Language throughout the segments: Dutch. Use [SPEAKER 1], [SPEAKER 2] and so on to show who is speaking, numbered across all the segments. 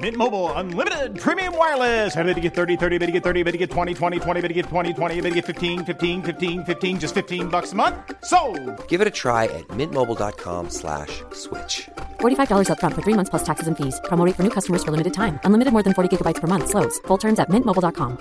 [SPEAKER 1] Mint Mobile unlimited premium wireless. Ready to get 30, 30, bit to get 30, bit to get 20, 20, 20, bit to get 20, 20, bit to get 15, 15, 15, 15 just 15 bucks a month. So,
[SPEAKER 2] Give it a try at mintmobile.com/slash switch.
[SPEAKER 3] $45 upfront for three months plus taxes and fees. Promo rate for new customers for limited time. Unlimited more than 40 gigabytes per month. Slows. Full terms at mintmobile.com.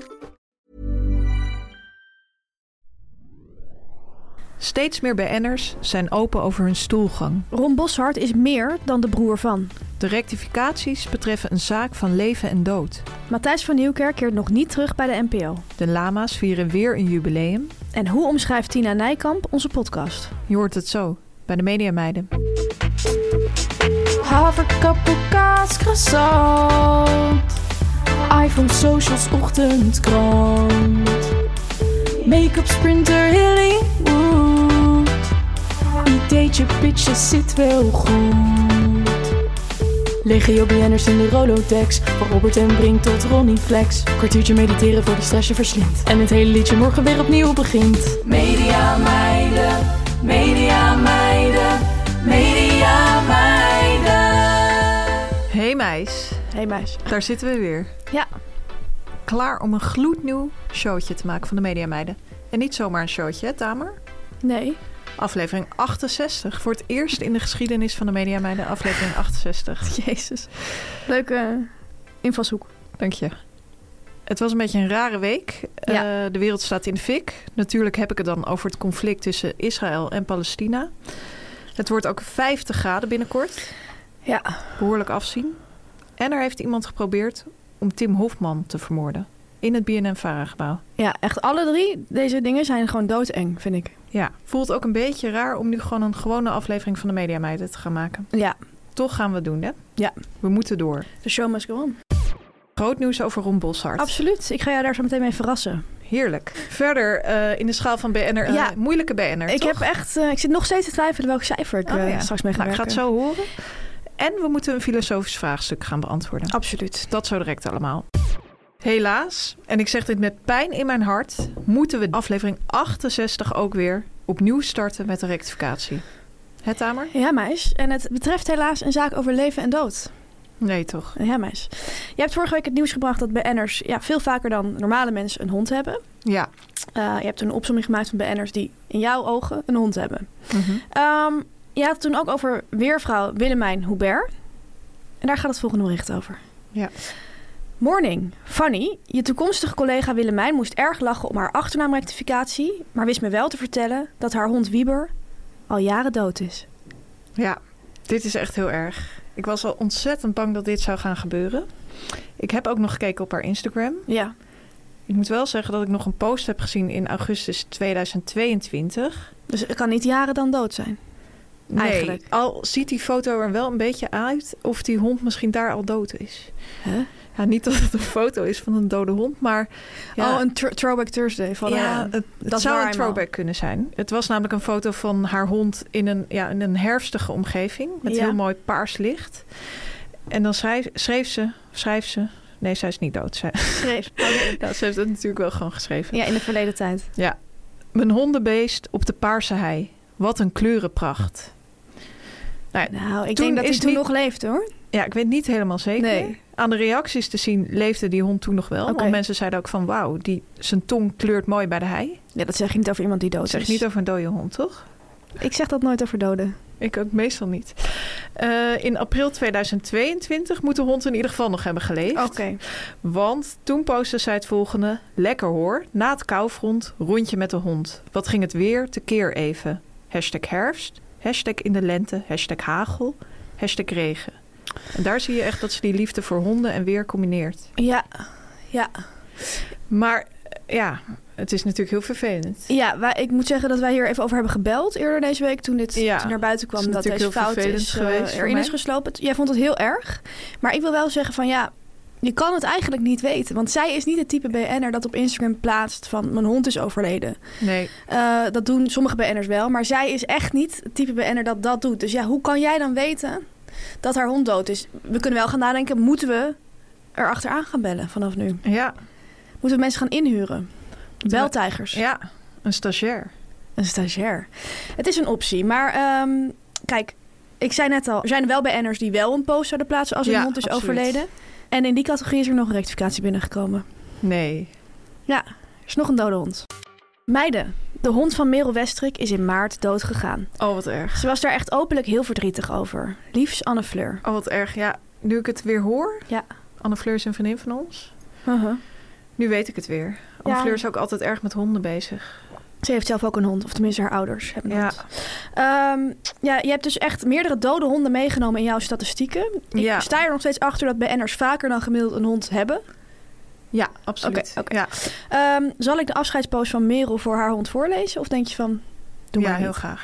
[SPEAKER 4] Steeds meer BN'ers zijn open over hun stoelgang.
[SPEAKER 5] Ron Boshart is meer dan de broer van.
[SPEAKER 4] De rectificaties betreffen een zaak van leven en dood.
[SPEAKER 5] Matthijs van Nieuwkerk keert nog niet terug bij de NPO.
[SPEAKER 4] De lama's vieren weer een jubileum.
[SPEAKER 5] En hoe omschrijft Tina Nijkamp onze podcast?
[SPEAKER 4] Je hoort het zo, bij de Mediameiden.
[SPEAKER 6] Haverkappelkaas, croissant. iPhone, socials, ochtendkrant. Make-up, sprinter, Hollywood. Ideetje, pitje, zit wel goed. Legio BN'ers in de Rolodex. Van Robert en Brink tot Ronnie Flex. Kwartiertje mediteren voor de stress je verslindt. En het hele liedje morgen weer opnieuw begint. Media meiden, media meiden, media meiden.
[SPEAKER 4] Hey meis,
[SPEAKER 5] hey meis.
[SPEAKER 4] daar zitten we weer.
[SPEAKER 5] Ja,
[SPEAKER 4] Klaar om een gloednieuw showtje te maken van de Mediameiden. En niet zomaar een showtje, hè Tamer?
[SPEAKER 5] nee.
[SPEAKER 4] Aflevering 68. Voor het eerst in de geschiedenis van de Mediameiden, aflevering 68.
[SPEAKER 5] Jezus. Leuke invalshoek.
[SPEAKER 4] Dank je. Het was een beetje een rare week.
[SPEAKER 5] Ja.
[SPEAKER 4] Eh, de wereld staat in de fik. Natuurlijk heb ik het dan over het conflict tussen Israël en Palestina. Het wordt ook 50 graden binnenkort.
[SPEAKER 5] Ja,
[SPEAKER 4] Behoorlijk afzien. En er heeft iemand geprobeerd om Tim Hofman te vermoorden. In het BNN-Vara-gebouw.
[SPEAKER 5] ja, echt alle drie deze dingen zijn gewoon doodeng, vind ik.
[SPEAKER 4] Ja, voelt ook een beetje raar om nu gewoon een gewone aflevering van de Media Meiden te gaan maken.
[SPEAKER 5] Ja,
[SPEAKER 4] Toch gaan we het doen, hè?
[SPEAKER 5] Ja.
[SPEAKER 4] We moeten door.
[SPEAKER 5] de show must go on.
[SPEAKER 4] Groot nieuws over Ron Bossart.
[SPEAKER 5] Absoluut, ik ga jou daar zo meteen mee verrassen.
[SPEAKER 4] Heerlijk. Verder eh, in de schaal van BN'er. eh,
[SPEAKER 5] Ja.
[SPEAKER 4] moeilijke BN'er,
[SPEAKER 5] ik
[SPEAKER 4] toch?
[SPEAKER 5] heb echt, eh, ik zit nog steeds te twijfelen welk cijfer ik eh, straks mee ga
[SPEAKER 4] Nou, ik ga het
[SPEAKER 5] werken.
[SPEAKER 4] zo horen. En we moeten een filosofisch vraagstuk gaan beantwoorden.
[SPEAKER 5] Absoluut.
[SPEAKER 4] Dat zo direct allemaal. Helaas, en ik zeg dit met pijn in mijn hart, moeten we aflevering 68 ook weer opnieuw starten met de rectificatie. Het Tamer?
[SPEAKER 5] Ja, meis. En het betreft helaas een zaak over leven en dood.
[SPEAKER 4] Nee, toch?
[SPEAKER 5] Ja, meis. Je hebt vorige week het nieuws gebracht dat BN'ers ja, veel vaker dan normale mensen een hond hebben.
[SPEAKER 4] Ja.
[SPEAKER 5] Eh, je hebt toen een opzomming gemaakt van BN'ers die in jouw ogen een hond hebben.
[SPEAKER 4] Mhm.
[SPEAKER 5] Ehm, je had het toen ook over weervrouw Willemijn Hubert. En daar gaat het volgende bericht over.
[SPEAKER 4] Ja.
[SPEAKER 5] Morning, Fanny. Je toekomstige collega Willemijn moest erg lachen om haar achternaamrectificatie... maar wist me wel te vertellen dat haar hond Wieber al jaren dood is.
[SPEAKER 4] Ja, dit is echt heel erg. Ik was al ontzettend bang dat dit zou gaan gebeuren. Ik heb ook nog gekeken op haar Instagram.
[SPEAKER 5] Ja,
[SPEAKER 4] Ik moet wel zeggen dat ik nog een post heb gezien in augustus 2022.
[SPEAKER 5] dus het kan niet jaren dan dood zijn.
[SPEAKER 4] Nee,
[SPEAKER 5] Eigenlijk.
[SPEAKER 4] al ziet die foto er wel een beetje uit of die hond misschien daar al dood is.
[SPEAKER 5] Hè?
[SPEAKER 4] Ja, niet dat het een foto is van een dode hond, maar... Ja,
[SPEAKER 5] Oh, een thr- Throwback Thursday van haar
[SPEAKER 4] ja,
[SPEAKER 5] aan.
[SPEAKER 4] het, het
[SPEAKER 5] is
[SPEAKER 4] zou
[SPEAKER 5] waar
[SPEAKER 4] een
[SPEAKER 5] eenmaal.
[SPEAKER 4] throwback kunnen zijn. Het was namelijk een foto van haar hond in een, ja, in een herfstige omgeving... met
[SPEAKER 5] Ja.
[SPEAKER 4] heel mooi paars licht. En dan schrijf, schreef ze... Schrijf ze nee, zij is niet dood. Zij,
[SPEAKER 5] schreef.
[SPEAKER 4] ja, ze heeft het natuurlijk wel gewoon geschreven.
[SPEAKER 5] Ja, in de verleden tijd.
[SPEAKER 4] Mijn hondenbeest op de paarse hei. Wat een kleurenpracht. Nou, ja,
[SPEAKER 5] Nou, ik
[SPEAKER 4] Toen
[SPEAKER 5] denk dat hij
[SPEAKER 4] is
[SPEAKER 5] toen
[SPEAKER 4] niet-
[SPEAKER 5] nog leeft hoor.
[SPEAKER 4] Ja, ik weet niet helemaal zeker.
[SPEAKER 5] Nee.
[SPEAKER 4] Aan de reacties te zien leefde die hond toen nog wel.
[SPEAKER 5] Oké.
[SPEAKER 4] Want mensen zeiden ook van wauw, die, zijn tong kleurt mooi bij de hei.
[SPEAKER 5] Ja, dat zeg je niet over iemand die dood
[SPEAKER 4] Dat zeg
[SPEAKER 5] is.
[SPEAKER 4] je niet over een dode hond, toch?
[SPEAKER 5] Ik zeg dat nooit over doden.
[SPEAKER 4] Ik ook meestal niet. Eh, in april 2022 moet de hond in ieder geval nog hebben geleefd.
[SPEAKER 5] Oké.
[SPEAKER 4] Want toen postte zij het volgende. Lekker hoor, na het koufront, rondje met de hond. Wat ging het weer tekeer even. Hashtag herfst, Hashtag in de lente, hashtag hagel, hashtag regen. En daar zie je echt dat ze die liefde voor honden en weer combineert.
[SPEAKER 5] Ja, ja.
[SPEAKER 4] Maar eh, ja, het is natuurlijk heel vervelend.
[SPEAKER 5] Ja, wij, ik moet zeggen dat wij hier even over hebben gebeld eerder deze week toen dit
[SPEAKER 4] Ja,
[SPEAKER 5] toen naar buiten
[SPEAKER 4] het
[SPEAKER 5] kwam.
[SPEAKER 4] is
[SPEAKER 5] Dat deze
[SPEAKER 4] natuurlijk heel
[SPEAKER 5] fout
[SPEAKER 4] vervelend
[SPEAKER 5] is, eh,
[SPEAKER 4] geweest voor
[SPEAKER 5] erin
[SPEAKER 4] mij.
[SPEAKER 5] is geslopen. Het- Jij vond het heel erg. Maar ik wil wel zeggen van ja, je kan het eigenlijk niet weten. Want zij is niet het type BN'er dat op Instagram plaatst van mijn hond is overleden.
[SPEAKER 4] Nee,
[SPEAKER 5] Eh, dat doen sommige BN'ers wel. Maar zij is echt niet het type BN'er dat dat doet. Dus ja, hoe kan jij dan weten dat haar hond dood is? We kunnen wel gaan nadenken, moeten we er achteraan gaan bellen vanaf nu?
[SPEAKER 4] ja,
[SPEAKER 5] Moeten we mensen gaan inhuren? Beltijgers.
[SPEAKER 4] ja, een stagiair.
[SPEAKER 5] Een stagiair. Het is een optie. Maar ehm, kijk, ik zei net al, er zijn wel BN'ers die wel een post zouden plaatsen als hun
[SPEAKER 4] Ja,
[SPEAKER 5] hond is
[SPEAKER 4] absoluut.
[SPEAKER 5] overleden. En in die categorie is er nog een rectificatie binnengekomen.
[SPEAKER 4] Nee.
[SPEAKER 5] Ja, er is nog een dode hond. Meiden, de hond van Merel Westrik is in maart dood gegaan.
[SPEAKER 4] Oh, wat erg.
[SPEAKER 5] Ze was daar echt openlijk heel verdrietig over. Liefs Anne Fleur.
[SPEAKER 4] Oh, wat erg. Ja, nu ik het weer hoor.
[SPEAKER 5] Ja.
[SPEAKER 4] Anne Fleur is een vriendin van ons. Uh-huh. Nu weet ik het weer. Anne
[SPEAKER 5] Ja.
[SPEAKER 4] Fleur is ook altijd erg met honden bezig.
[SPEAKER 5] Ze heeft zelf ook een hond, of tenminste haar ouders hebben een
[SPEAKER 4] Ja.
[SPEAKER 5] hond. Ehm, ja, je hebt dus echt meerdere dode honden meegenomen in jouw statistieken. Ik
[SPEAKER 4] Ja.
[SPEAKER 5] sta er nog steeds achter dat BN'ers vaker dan gemiddeld een hond hebben.
[SPEAKER 4] Ja, absoluut.
[SPEAKER 5] Oké, oké.
[SPEAKER 4] Ja,
[SPEAKER 5] Ehm, zal ik de afscheidspost van Merel voor haar hond voorlezen? Of denk je van, doe
[SPEAKER 4] ja
[SPEAKER 5] maar
[SPEAKER 4] heel
[SPEAKER 5] niet.
[SPEAKER 4] graag.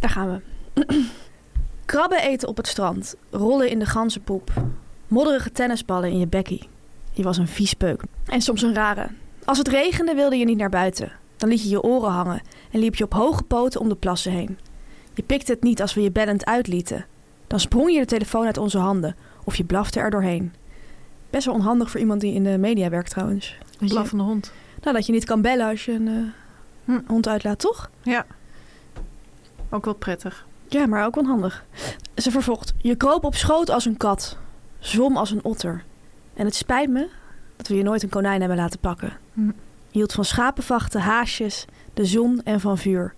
[SPEAKER 5] Daar gaan we. Krabben eten op het strand. Rollen in de ganzenpoep. Modderige tennisballen in je bekkie. Je was een vies peuk. En soms een rare. Als het regende wilde je niet naar buiten. Dan liet je je oren hangen en liep je op hoge poten om de plassen heen. Je pikte het niet als we je bellend uitlieten. Dan sprong je de telefoon uit onze handen of je blafte er doorheen. Best wel onhandig voor iemand die in de media werkt trouwens. Dat je-
[SPEAKER 4] Blaffende hond.
[SPEAKER 5] nou, dat je niet kan bellen als je een eh,
[SPEAKER 4] Hm.
[SPEAKER 5] hond uitlaat, toch?
[SPEAKER 4] Ja. Ook wel prettig.
[SPEAKER 5] Ja, maar ook onhandig. Ze vervolgt. Je kroop op schoot als een kat. Zwom als een otter. En het spijt me dat we je nooit een konijn hebben laten pakken.
[SPEAKER 4] Hm.
[SPEAKER 5] Je hield van schapenvachten, haasjes, de zon en van vuur.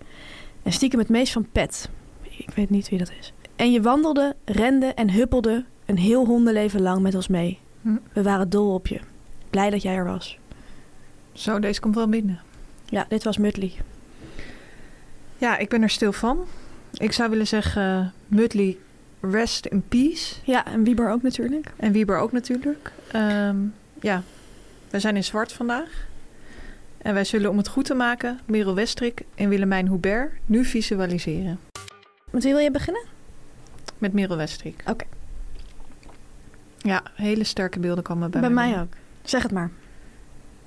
[SPEAKER 5] En stiekem het meest van pet. Ik weet niet wie dat is. En je wandelde, rende en huppelde een heel hondenleven lang met ons mee.
[SPEAKER 4] Hm.
[SPEAKER 5] We waren dol op je. Blij dat jij er was.
[SPEAKER 4] Zo, deze komt wel binnen.
[SPEAKER 5] Ja, dit was Muttley.
[SPEAKER 4] Ja, ik ben er stil van. Ik zou willen zeggen, Mudley, rest in peace.
[SPEAKER 5] Ja, en Wieber ook natuurlijk.
[SPEAKER 4] En Wieber ook natuurlijk. Ehm, ja, we zijn in zwart vandaag. En wij zullen om het goed te maken Merel Westrik en Willemijn Hubert nu visualiseren.
[SPEAKER 5] Met wie wil je beginnen?
[SPEAKER 4] Met Merel Westrik.
[SPEAKER 5] Oké.
[SPEAKER 4] Ja, hele sterke beelden komen bij,
[SPEAKER 5] Bij
[SPEAKER 4] mij
[SPEAKER 5] mij
[SPEAKER 4] binnen.
[SPEAKER 5] ook. Zeg het maar.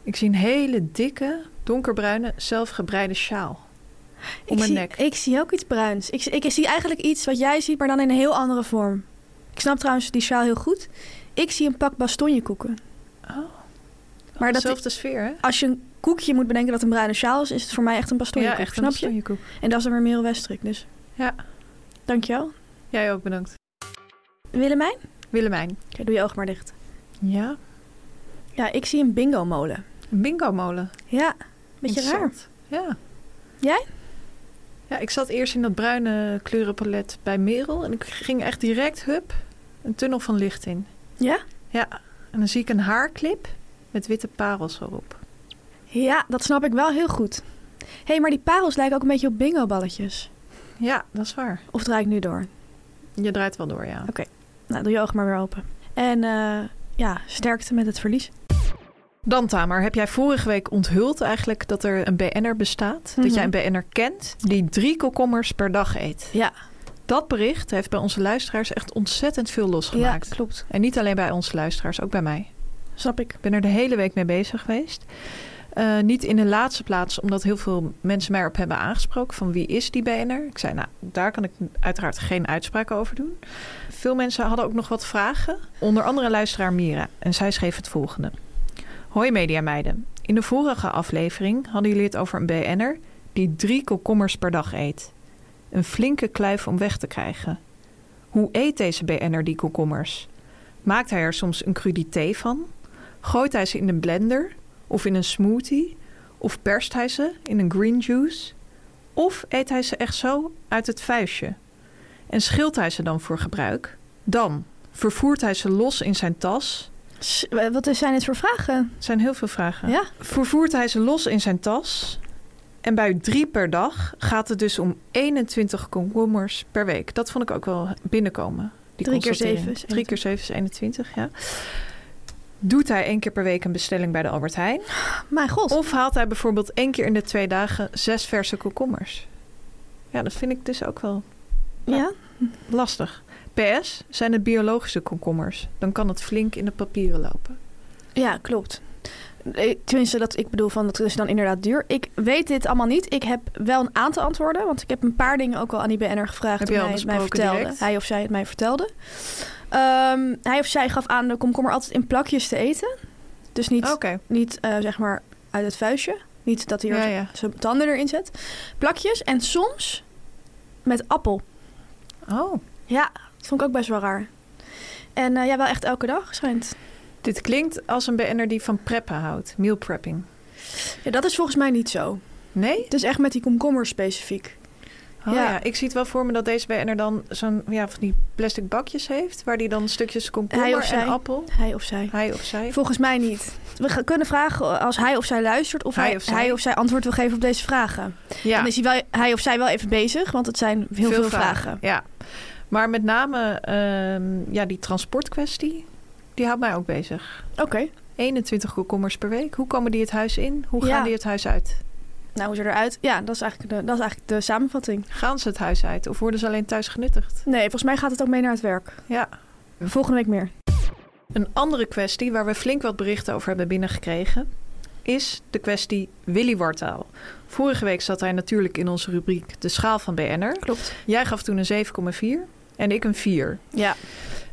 [SPEAKER 4] Ik zie een hele dikke, donkerbruine, zelfgebreide sjaal. Om
[SPEAKER 5] ik,
[SPEAKER 4] mijn
[SPEAKER 5] zie,
[SPEAKER 4] nek.
[SPEAKER 5] ik zie ook iets bruins. Ik, zie- ik zie eigenlijk iets wat jij ziet, maar dan in een heel andere vorm. Ik snap trouwens die sjaal heel goed. Ik zie een pak bastonjekoeken.
[SPEAKER 4] Oh.
[SPEAKER 5] Maar dat,
[SPEAKER 4] Dezelfde sfeer, hè?
[SPEAKER 5] als je een koekje moet bedenken dat een bruine sjaal is, is het voor mij echt een bastonjekoek.
[SPEAKER 4] ja, echt
[SPEAKER 5] snap
[SPEAKER 4] een tonjekoek.
[SPEAKER 5] je? En dat is dan weer Merel Westrik, dus.
[SPEAKER 4] Ja.
[SPEAKER 5] Dankjewel.
[SPEAKER 4] Jij ook, bedankt.
[SPEAKER 5] Willemijn?
[SPEAKER 4] Willemijn.
[SPEAKER 5] Oké, doe je oog maar dicht.
[SPEAKER 4] Ja?
[SPEAKER 5] Ja, ik zie een bingo molen.
[SPEAKER 4] Een bingo-molen.
[SPEAKER 5] Ja, beetje raar.
[SPEAKER 4] Interessant. Ja.
[SPEAKER 5] Jij?
[SPEAKER 4] Ja, ik zat eerst in dat bruine kleurenpalet bij Merel. En ik ging echt direct, hup, een tunnel van licht in.
[SPEAKER 5] Ja?
[SPEAKER 4] Ja, en dan zie ik een haarklip met witte parels erop.
[SPEAKER 5] Ja, dat snap ik wel heel goed. Hé, hey, maar die parels lijken ook een beetje op bingo balletjes.
[SPEAKER 4] Ja, dat is waar.
[SPEAKER 5] Of draai ik nu door?
[SPEAKER 4] Je draait wel door, ja.
[SPEAKER 5] Nou, doe je ogen maar weer open. En eh, ja, sterkte met het verlies.
[SPEAKER 4] Dan Tamer, heb jij vorige week onthuld eigenlijk dat er een BN'er bestaat? Dat
[SPEAKER 5] Mhm.
[SPEAKER 4] jij een BN'er kent die drie komkommers per dag eet.
[SPEAKER 5] Ja,
[SPEAKER 4] Dat bericht heeft bij onze luisteraars echt ontzettend veel losgemaakt.
[SPEAKER 5] ja klopt.
[SPEAKER 4] En niet alleen bij onze luisteraars, ook bij mij.
[SPEAKER 5] Snap ik.
[SPEAKER 4] Ik ben er de hele week mee bezig geweest. Eh, niet in de laatste plaats, omdat heel veel mensen mij op hebben aangesproken van wie is die BNR. Ik zei, nou, daar kan ik uiteraard geen uitspraak over doen. Veel mensen hadden ook nog wat vragen, onder andere luisteraar Mira. En zij schreef het volgende. Hoi mediameiden. In de vorige aflevering hadden jullie het over een BN'er die drie komkommers per dag eet. Een flinke kluif om weg te krijgen. Hoe eet deze BN'er die komkommers? Maakt hij er soms een crudité van? Gooit hij ze in een blender of in een smoothie? Of perst hij ze in een green juice? Of eet hij ze echt zo uit het vuistje? En schilt hij ze dan voor gebruik? Dan vervoert hij ze los in zijn tas.
[SPEAKER 5] S- Wat zijn dit voor vragen?
[SPEAKER 4] Het zijn heel veel vragen.
[SPEAKER 5] Ja.
[SPEAKER 4] Vervoert hij ze los in zijn tas? En bij drie per dag gaat het dus om 21 komkommers per week. Dat vond ik ook wel binnenkomen. die
[SPEAKER 5] Drie keer
[SPEAKER 4] constatering.
[SPEAKER 5] zeven is
[SPEAKER 4] Drie keer zeven is 21, ja. Doet hij één keer per week een bestelling bij de Albert Heijn?
[SPEAKER 5] Mijn god.
[SPEAKER 4] Of haalt hij bijvoorbeeld één keer in de twee dagen zes verse komkommers? Ja, dat vind ik dus ook wel
[SPEAKER 5] ja?
[SPEAKER 4] lastig. PS, zijn het biologische komkommers? Dan kan het flink in de papieren lopen.
[SPEAKER 5] ja, klopt. Eh, Tenminste, dat, ik bedoel van dat is dan inderdaad duur. Ik weet dit allemaal niet. Ik heb wel een aantal antwoorden. Want ik heb een paar dingen ook al aan die BN'er gevraagd.
[SPEAKER 4] Heb
[SPEAKER 5] toen
[SPEAKER 4] je al
[SPEAKER 5] hij het mij
[SPEAKER 4] besproken
[SPEAKER 5] vertelde.
[SPEAKER 4] direct?
[SPEAKER 5] Hij of zij het mij vertelde. Ehm, hij of zij gaf aan de komkommer altijd in plakjes te eten. Dus niet,
[SPEAKER 4] Oké,
[SPEAKER 5] niet eh, zeg maar uit het vuistje. Niet dat hij er
[SPEAKER 4] ja, ja.
[SPEAKER 5] zijn tanden erin zet. Plakjes en soms met appel.
[SPEAKER 4] Oh,
[SPEAKER 5] Ja, dat vond ik ook best wel raar. En eh, ja, wel echt elke dag schijnt.
[SPEAKER 4] dit klinkt als een BN'er die van preppen houdt. Meal prepping.
[SPEAKER 5] Ja, dat is volgens mij niet zo.
[SPEAKER 4] Nee?
[SPEAKER 5] Het is echt met die komkommer specifiek.
[SPEAKER 4] Oh, ja.
[SPEAKER 5] Ja.
[SPEAKER 4] ik zie het wel voor me dat deze BN'er dan zo'n ja, van die plastic bakjes heeft... waar die dan stukjes
[SPEAKER 5] Hij of
[SPEAKER 4] komkommer
[SPEAKER 5] zij.
[SPEAKER 4] en appel...
[SPEAKER 5] Hij of zij.
[SPEAKER 4] Hij of zij.
[SPEAKER 5] Volgens mij niet. We ga- kunnen vragen als hij of zij luistert of
[SPEAKER 4] Hij
[SPEAKER 5] hij,
[SPEAKER 4] of
[SPEAKER 5] of
[SPEAKER 4] zij.
[SPEAKER 5] hij of zij antwoord wil geven op deze vragen.
[SPEAKER 4] Ja,
[SPEAKER 5] Dan is hij, wel, hij of zij wel even bezig, want het zijn heel veel, vragen.
[SPEAKER 4] Ja, maar met name ehm, ja, die transportkwestie... die houdt mij ook bezig.
[SPEAKER 5] Oké.
[SPEAKER 4] 21 komkommers per week. Hoe komen die het huis in? Hoe gaan
[SPEAKER 5] Ja.
[SPEAKER 4] die het huis uit?
[SPEAKER 5] Nou, hoe ze eruit? Ja, dat is, eigenlijk de, dat is eigenlijk de samenvatting.
[SPEAKER 4] Gaan ze het huis uit of worden ze alleen thuis genuttigd?
[SPEAKER 5] Nee, volgens mij gaat het ook mee naar het werk.
[SPEAKER 4] Ja.
[SPEAKER 5] Volgende week meer.
[SPEAKER 4] Een andere kwestie waar we flink wat berichten over hebben binnengekregen is de kwestie Willy Wartaal. Vorige week zat hij natuurlijk in onze rubriek De Schaal van BNR.
[SPEAKER 5] Klopt.
[SPEAKER 4] Jij gaf toen een 7,4 en ik een 4.
[SPEAKER 5] Ja.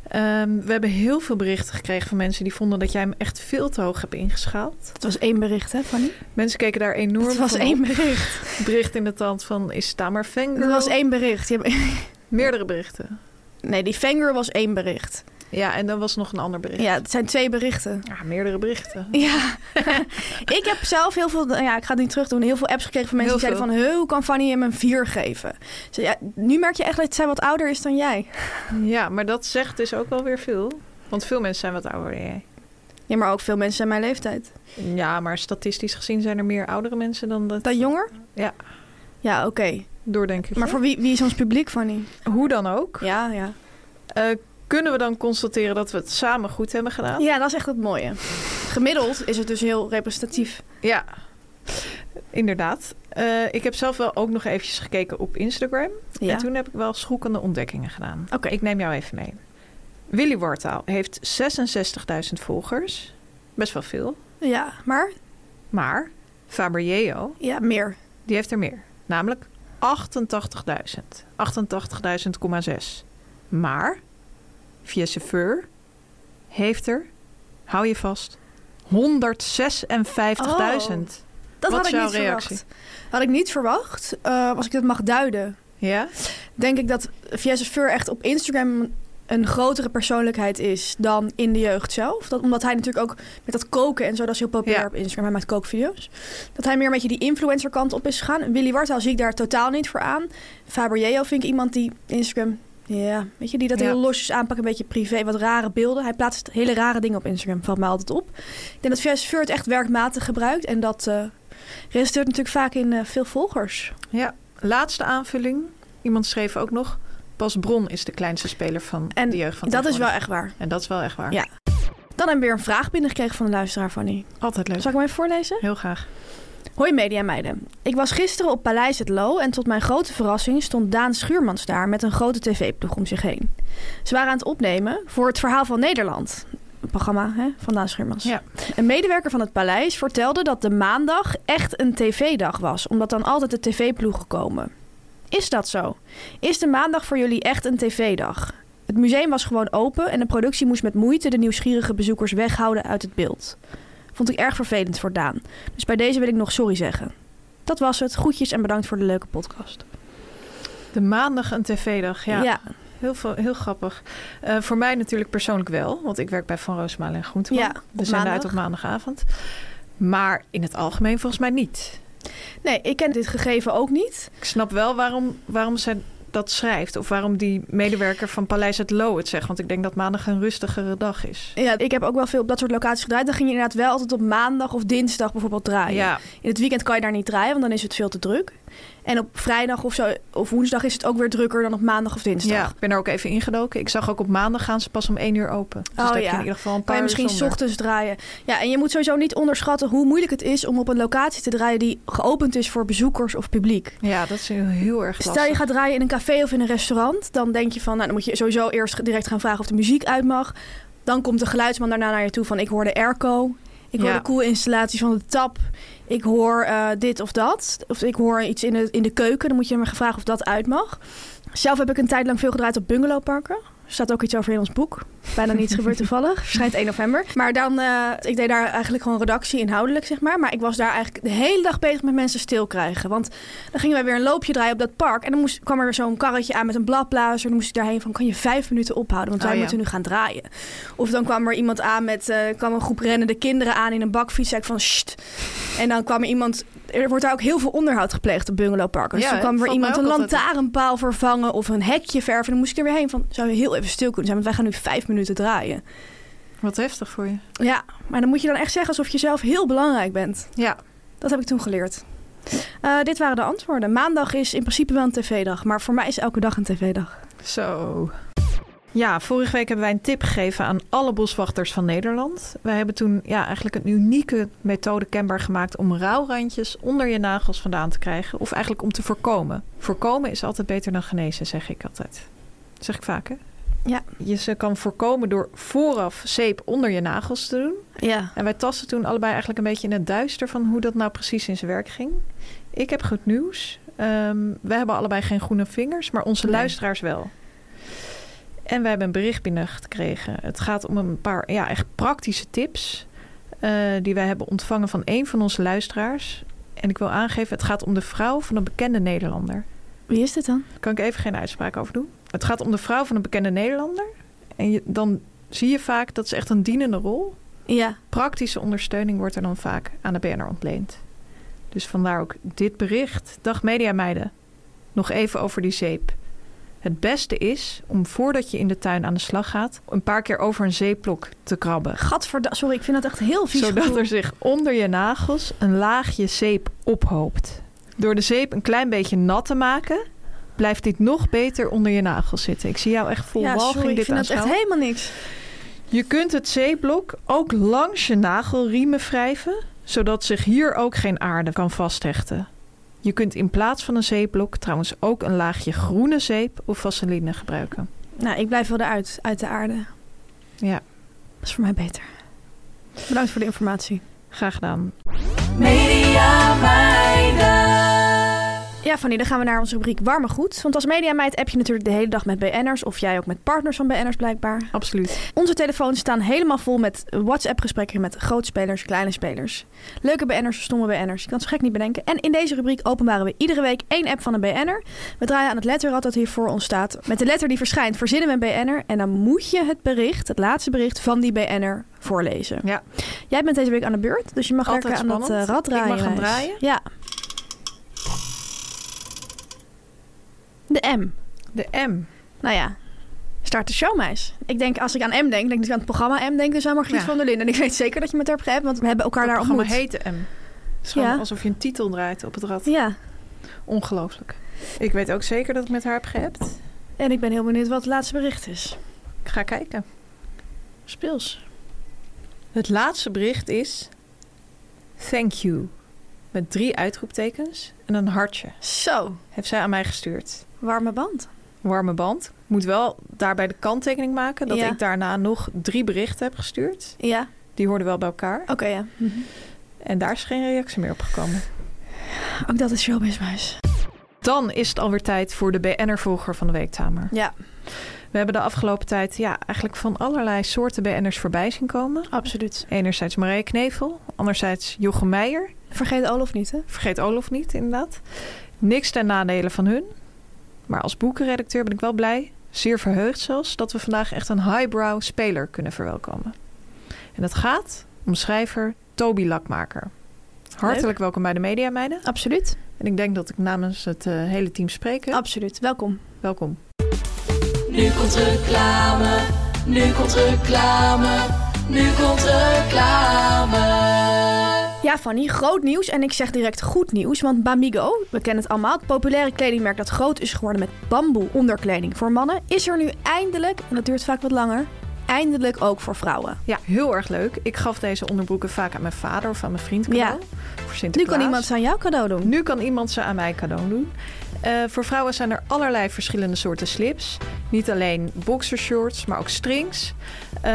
[SPEAKER 4] Ehm, we hebben heel veel berichten gekregen van mensen die vonden dat jij hem echt veel te hoog hebt ingeschaald.
[SPEAKER 5] Het was één bericht, hè, Fanny?
[SPEAKER 4] Mensen keken daar enorm
[SPEAKER 5] Het was
[SPEAKER 4] van
[SPEAKER 5] één
[SPEAKER 4] op.
[SPEAKER 5] bericht.
[SPEAKER 4] bericht in de tand van is het daar maar fangirl?
[SPEAKER 5] Er was één bericht. Je-
[SPEAKER 4] Meerdere berichten.
[SPEAKER 5] Nee, die finger was één bericht.
[SPEAKER 4] Ja, en dan was nog een ander bericht.
[SPEAKER 5] Ja, het zijn twee berichten.
[SPEAKER 4] Ja, meerdere berichten.
[SPEAKER 5] Ja, ik heb zelf heel veel, ja, ik ga het niet terug doen, heel veel apps gekregen van mensen
[SPEAKER 4] Heel
[SPEAKER 5] die zeiden van, "Huh, hoe kan Fanny hem een 4 geven? Ik zei, ja, nu merk je echt dat zij wat ouder is dan jij.
[SPEAKER 4] Ja, maar dat zegt dus ook wel weer veel. Want veel mensen zijn wat ouder dan jij.
[SPEAKER 5] Ja, maar ook veel mensen zijn mijn leeftijd.
[SPEAKER 4] Ja, maar statistisch gezien zijn er meer oudere mensen dan dat.
[SPEAKER 5] Dat jonger?
[SPEAKER 4] Ja.
[SPEAKER 5] Ja, oké.
[SPEAKER 4] Door, denk ik.
[SPEAKER 5] Maar voor wie, wie is ons publiek, Fanny?
[SPEAKER 4] Hoe dan ook.
[SPEAKER 5] Ja, ja.
[SPEAKER 4] eh, kunnen we dan constateren dat we het samen goed hebben gedaan?
[SPEAKER 5] Ja, dat is echt het mooie. Gemiddeld is het dus heel representatief.
[SPEAKER 4] Ja, inderdaad. Eh, ik heb zelf wel ook nog eventjes gekeken op Instagram.
[SPEAKER 5] Ja.
[SPEAKER 4] En toen heb ik wel schokkende ontdekkingen gedaan.
[SPEAKER 5] Oké.
[SPEAKER 4] Ik neem jou even mee. Willy Wortaal heeft 66.000 volgers. Best wel veel.
[SPEAKER 5] Ja, maar?
[SPEAKER 4] Maar Faber Yeo,
[SPEAKER 5] Ja, meer.
[SPEAKER 4] die heeft er meer. Namelijk 88.000. 88.000,6. Maar via chauffeur heeft er, hou je vast, 156.000.
[SPEAKER 5] Dat
[SPEAKER 4] Wat is
[SPEAKER 5] had ik
[SPEAKER 4] jouw
[SPEAKER 5] niet
[SPEAKER 4] reactie?
[SPEAKER 5] verwacht. Had ik niet verwacht, eh, als ik dat mag duiden.
[SPEAKER 4] Ja?
[SPEAKER 5] denk ik dat Fiesse Fur echt op Instagram een grotere persoonlijkheid is dan in de jeugd zelf. Dat, omdat hij natuurlijk ook met dat koken en zo, dat is heel populair
[SPEAKER 4] Ja.
[SPEAKER 5] op Instagram. Hij maakt kookvideo's. Dat hij meer een beetje die influencer kant op is gegaan. Willy Wartaal zie ik daar totaal niet voor aan. Faber Yeo vind ik iemand die Instagram... Ja, weet je, die dat
[SPEAKER 4] Ja.
[SPEAKER 5] heel losjes aanpakt, een beetje privé, wat rare beelden. Hij plaatst hele rare dingen op Instagram, valt mij altijd op. Ik denk dat Fiesse Fur het echt werkmatig gebruikt en dat eh, resulteert natuurlijk vaak in eh, veel volgers.
[SPEAKER 4] Ja. Laatste aanvulling. Iemand schreef ook nog... Pas Bron is de kleinste speler van
[SPEAKER 5] En
[SPEAKER 4] de jeugd van
[SPEAKER 5] dat is wel
[SPEAKER 4] tegenwoordig.
[SPEAKER 5] echt waar.
[SPEAKER 4] En dat is wel echt waar.
[SPEAKER 5] Ja. Dan hebben we weer een vraag binnengekregen van de luisteraar, Fanny.
[SPEAKER 4] Altijd leuk.
[SPEAKER 5] Zal ik hem even voorlezen?
[SPEAKER 4] Heel graag.
[SPEAKER 5] Hoi media meiden. Ik was gisteren op Paleis het Loo en tot mijn grote verrassing stond Daan Schuurmans daar met een grote tv-ploeg om zich heen. Ze waren aan het opnemen voor het Verhaal van Nederland. Een programma hè, van Daan Schuurmans.
[SPEAKER 4] Ja.
[SPEAKER 5] Een medewerker van het paleis vertelde dat de maandag echt een tv-dag was, omdat dan altijd de tv-ploegen komen. Is dat zo? Is de maandag voor jullie echt een tv-dag? Het museum was gewoon open en de productie moest met moeite de nieuwsgierige bezoekers weghouden uit het beeld. Vond ik erg vervelend voor Daan. Dus bij deze wil ik nog sorry zeggen. Dat was het. Groetjes en bedankt voor de leuke podcast.
[SPEAKER 4] De maandag een tv-dag. Ja.
[SPEAKER 5] ja,
[SPEAKER 4] Heel, veel, heel grappig. Eh, voor mij natuurlijk persoonlijk wel, want ik werk bij Van Roosmalen en Groenteman.
[SPEAKER 5] Ja,
[SPEAKER 4] We
[SPEAKER 5] op
[SPEAKER 4] zijn
[SPEAKER 5] maandag.
[SPEAKER 4] uit op maandagavond. Maar in het algemeen volgens mij niet.
[SPEAKER 5] Nee, ik ken dit gegeven ook niet.
[SPEAKER 4] Ik snap wel waarom, waarom ze dat schrijft. Of waarom die medewerker van Paleis het Loo het zegt. Want ik denk dat maandag een rustigere dag is.
[SPEAKER 5] Ja, ik heb ook wel veel op dat soort locaties gedraaid. Dan ging je inderdaad wel altijd op maandag of dinsdag bijvoorbeeld draaien.
[SPEAKER 4] Ja.
[SPEAKER 5] In het weekend kan je daar niet draaien, want dan is het veel te druk. En op vrijdag of, zo, of woensdag is het ook weer drukker dan op maandag of dinsdag. Oh
[SPEAKER 4] Ja, ik ben er ook even ingedoken. Ik zag ook op maandag gaan ze pas om één uur open. Dus dat
[SPEAKER 5] oh,
[SPEAKER 4] heb
[SPEAKER 5] ja.
[SPEAKER 4] je in ieder geval een
[SPEAKER 5] kan
[SPEAKER 4] paar
[SPEAKER 5] je misschien
[SPEAKER 4] uur zonder.
[SPEAKER 5] ochtends draaien. Ja, en je moet sowieso niet onderschatten hoe moeilijk het is om op een locatie te draaien die geopend is voor bezoekers of publiek.
[SPEAKER 4] Ja, dat is heel, heel erg lastig.
[SPEAKER 5] Stel je gaat draaien in een café of in een restaurant, dan denk je van, nou, dan moet je sowieso eerst direct gaan vragen of de muziek uit mag. Dan komt de geluidsman daarna naar je toe van, ik hoor de airco, ik hoor
[SPEAKER 4] Ja.
[SPEAKER 5] de koele installatie van de tap, ik hoor eh, dit of dat, of ik hoor iets in de, in de keuken. Dan moet je maar gaan vragen of dat uit mag. Zelf heb ik een tijd lang veel gedraaid op bungalowparken. Er staat ook iets over in ons boek. Bijna niets gebeurd toevallig. Verschijnt 1 november. Maar dan, eh, ik deed daar eigenlijk gewoon redactie inhoudelijk, zeg maar. Maar ik was daar eigenlijk de hele dag bezig met mensen stil krijgen. Want dan gingen wij weer een loopje draaien op dat park. En dan moest, kwam er weer zo'n karretje aan met een bladblazer. Dan moest ik daarheen van, kan je vijf minuten ophouden? Want wij
[SPEAKER 4] Oh ja.
[SPEAKER 5] moeten nu gaan draaien. Of dan kwam er iemand aan met, eh, kwam een groep rennende kinderen aan in een bakfiets. Zei ik van, sst. En dan kwam er iemand, er wordt daar ook heel veel onderhoud gepleegd op bungalowparken. Dus
[SPEAKER 4] Ja,
[SPEAKER 5] toen
[SPEAKER 4] hè?
[SPEAKER 5] kwam weer
[SPEAKER 4] Valt mij
[SPEAKER 5] iemand een
[SPEAKER 4] ook altijd op.
[SPEAKER 5] lantaarnpaal vervangen of een hekje verven. En dan moest ik er weer heen van, zou je heel even stil kunnen zijn? Want wij gaan nu vijf minuten draaien.
[SPEAKER 4] Wat heftig voor je.
[SPEAKER 5] Ja, maar dan moet je dan echt zeggen alsof je zelf heel belangrijk bent.
[SPEAKER 4] Ja,
[SPEAKER 5] Dat heb ik toen geleerd. Eh, dit waren de antwoorden. Maandag is in principe wel een tv-dag, maar voor mij is elke dag een tv-dag.
[SPEAKER 4] Zo. Ja, vorige week hebben wij een tip gegeven aan alle boswachters van Nederland. Wij hebben toen ja, eigenlijk een unieke methode kenbaar gemaakt om rouwrandjes onder je nagels vandaan te krijgen. Of eigenlijk om te voorkomen. Voorkomen is altijd beter dan genezen, zeg ik altijd. Dat zeg ik vaak, hè?
[SPEAKER 5] Ja.
[SPEAKER 4] Je ze kan voorkomen door vooraf zeep onder je nagels te doen.
[SPEAKER 5] Ja.
[SPEAKER 4] En wij tasten toen allebei eigenlijk een beetje in het duister van hoe dat nou precies in zijn werk ging. Ik heb goed nieuws. Ehm we hebben allebei geen groene vingers, maar onze
[SPEAKER 5] Nee.
[SPEAKER 4] luisteraars wel. En we hebben een bericht binnengekregen. Het gaat om een paar ja, echt praktische tips eh, die wij hebben ontvangen van een van onze luisteraars. En ik wil aangeven, het gaat om de vrouw van een bekende Nederlander.
[SPEAKER 5] Wie is dit dan?
[SPEAKER 4] Daar kan ik even geen uitspraak over doen. Het gaat om de vrouw van een bekende Nederlander. En je, dan zie je vaak, dat is echt een dienende rol
[SPEAKER 5] Ja.
[SPEAKER 4] praktische ondersteuning wordt er dan vaak aan de BNR ontleend. Dus vandaar ook dit bericht. Dag mediameiden. Nog even over die zeep. Het beste is om voordat je in de tuin aan de slag gaat, een paar keer over een zeeplok te krabben.
[SPEAKER 5] Gadverda... Sorry, ik vind dat echt heel vies
[SPEAKER 4] Zodat
[SPEAKER 5] gevoel.
[SPEAKER 4] er zich onder je nagels een laagje zeep ophoopt. Door de zeep een klein beetje nat te maken, blijft dit nog beter onder je nagels zitten. Ik zie jou echt vol
[SPEAKER 5] Ja,
[SPEAKER 4] walging
[SPEAKER 5] sorry, ik
[SPEAKER 4] dit
[SPEAKER 5] vind dat echt
[SPEAKER 4] aanschouwen.
[SPEAKER 5] helemaal niks.
[SPEAKER 4] Je kunt het zeeblok ook langs je nagelriemen wrijven, zodat zich hier ook geen aarde kan vasthechten. Je kunt in plaats van een zeeblok trouwens ook een laagje groene zeep of vaseline gebruiken.
[SPEAKER 5] Nou, ik blijf wel eruit, uit de aarde.
[SPEAKER 4] Ja,
[SPEAKER 5] Dat is voor mij beter. Bedankt voor de informatie.
[SPEAKER 4] graag gedaan.
[SPEAKER 6] Media meiden.
[SPEAKER 5] Ja, Fanny, dan gaan we naar onze rubriek Warme Goed. Want als mediameid app je natuurlijk de hele dag met BN'ers. Of jij ook met partners van BN'ers blijkbaar.
[SPEAKER 4] Absoluut.
[SPEAKER 5] Onze telefoons staan helemaal vol met WhatsApp-gesprekken met grootspelers, kleine spelers. Leuke BN'ers, stomme BN'ers. Je kan het zo gek niet bedenken. En in deze rubriek openbaren we iedere week één app van een BN'er. We draaien aan het letterrad dat hier voor ons staat. Met de letter die verschijnt verzinnen we een BN'er. En dan moet je het bericht, het laatste bericht van die BN'er voorlezen.
[SPEAKER 4] Ja.
[SPEAKER 5] Jij bent deze week aan de beurt, dus je mag
[SPEAKER 4] Altijd
[SPEAKER 5] lekker aan dat
[SPEAKER 4] spannend.
[SPEAKER 5] eh, rad
[SPEAKER 4] Ik mag
[SPEAKER 5] draaien.
[SPEAKER 4] hem
[SPEAKER 5] Wijs.
[SPEAKER 4] draaien?
[SPEAKER 5] Ja. De M.
[SPEAKER 4] De M.
[SPEAKER 5] Nou ja, start de show, meis. Ik denk, als ik aan M denk, denk ik aan het programma M, denk dus aan Margriet
[SPEAKER 4] Ja.
[SPEAKER 5] van der Linden. En ik weet zeker dat je met haar hebt gehad, want we hebben elkaar
[SPEAKER 4] Het
[SPEAKER 5] daar
[SPEAKER 4] programma
[SPEAKER 5] ontmoet.
[SPEAKER 4] heet de M. Het is
[SPEAKER 5] Ja.
[SPEAKER 4] gewoon alsof je een titel draait op het rad.
[SPEAKER 5] Ja,
[SPEAKER 4] Ongelooflijk. Ik weet ook zeker dat ik met haar heb gehept.
[SPEAKER 5] en ik ben heel benieuwd wat het laatste bericht is.
[SPEAKER 4] Ik ga kijken.
[SPEAKER 5] Speels.
[SPEAKER 4] Het laatste bericht is... Thank you. Met drie uitroeptekens en een hartje.
[SPEAKER 5] Zo,
[SPEAKER 4] Heeft zij aan mij gestuurd.
[SPEAKER 5] warme band.
[SPEAKER 4] warme band. Moet wel daarbij de kanttekening maken dat
[SPEAKER 5] Ja.
[SPEAKER 4] ik daarna nog drie berichten heb gestuurd.
[SPEAKER 5] Ja,
[SPEAKER 4] Die hoorden wel bij elkaar.
[SPEAKER 5] oké ja.
[SPEAKER 4] En daar is geen reactie meer op gekomen.
[SPEAKER 5] Ook dat is showbiz, meis.
[SPEAKER 4] Dan is het alweer tijd voor de BN'er-volger van de week, Tamer.
[SPEAKER 5] Ja,
[SPEAKER 4] We hebben de afgelopen tijd ja, eigenlijk van allerlei soorten BN'ers voorbij zien komen.
[SPEAKER 5] absoluut.
[SPEAKER 4] Enerzijds Marije Knevel, anderzijds Jochem Meijer.
[SPEAKER 5] Vergeet Olaf niet, hè?
[SPEAKER 4] Vergeet Olof niet, inderdaad. Niks ten nadele van hun. Maar als boekenredacteur ben ik wel blij, zeer verheugd zelfs, dat we vandaag echt een highbrow speler kunnen verwelkomen. En het gaat om schrijver Toby Lakmaker. Hartelijk
[SPEAKER 5] Leuk.
[SPEAKER 4] welkom bij de Media Meiden.
[SPEAKER 5] Absoluut.
[SPEAKER 4] En ik denk dat ik namens het eh, hele team spreek. hè?
[SPEAKER 5] Absoluut, welkom.
[SPEAKER 4] Welkom.
[SPEAKER 6] Nu komt reclame, nu komt reclame, nu komt reclame.
[SPEAKER 5] Ja, Fanny, groot nieuws. En ik zeg direct goed nieuws, want Bamigo, we kennen het allemaal, het populaire kledingmerk dat groot is geworden met bamboe onderkleding voor mannen, is er nu eindelijk, en dat duurt vaak wat langer, eindelijk ook voor vrouwen.
[SPEAKER 4] Ja, heel erg leuk. Ik gaf deze onderbroeken vaak aan mijn vader of aan mijn vriend cadeau. Voor
[SPEAKER 5] Nu
[SPEAKER 4] Sinterklaas.
[SPEAKER 5] kan iemand ze aan jou cadeau doen.
[SPEAKER 4] Nu kan iemand ze aan mij cadeau doen. Eh, voor vrouwen zijn er allerlei verschillende soorten slips. Niet alleen boxershorts, maar ook strings. Eh,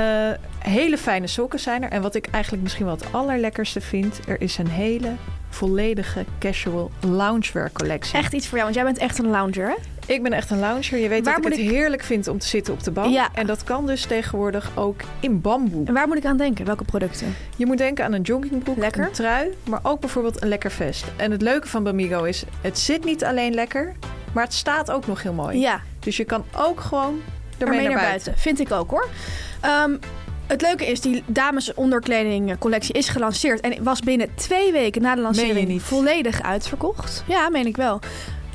[SPEAKER 4] hele fijne sokken zijn er. En wat ik eigenlijk misschien wel het allerlekkerste vind... er is een hele volledige casual loungewear collectie.
[SPEAKER 5] Echt iets voor jou, want jij bent echt een lounger, hè?
[SPEAKER 4] Ik ben echt een lounger. Je weet
[SPEAKER 5] Waar
[SPEAKER 4] dat ik
[SPEAKER 5] moet
[SPEAKER 4] het
[SPEAKER 5] ik-
[SPEAKER 4] heerlijk vind om te zitten op de bank.
[SPEAKER 5] Ja.
[SPEAKER 4] En dat kan dus tegenwoordig ook in bamboe.
[SPEAKER 5] En waar moet ik aan denken? Welke producten?
[SPEAKER 4] Je moet denken aan een joggingbroek,
[SPEAKER 5] Lekker.
[SPEAKER 4] een trui, maar ook bijvoorbeeld een lekker vest. En het leuke van Bamigo is, het zit niet alleen lekker, maar het staat ook nog heel mooi.
[SPEAKER 5] Ja,
[SPEAKER 4] Dus je kan ook gewoon ermee
[SPEAKER 5] ermee
[SPEAKER 4] naar buiten.
[SPEAKER 5] Vind ik ook hoor. Ehm, het leuke is, die dames onderkleding collectie is gelanceerd. En was binnen twee weken na de
[SPEAKER 4] Meen
[SPEAKER 5] lancering
[SPEAKER 4] je niet?
[SPEAKER 5] volledig uitverkocht. Ja, meen ik wel.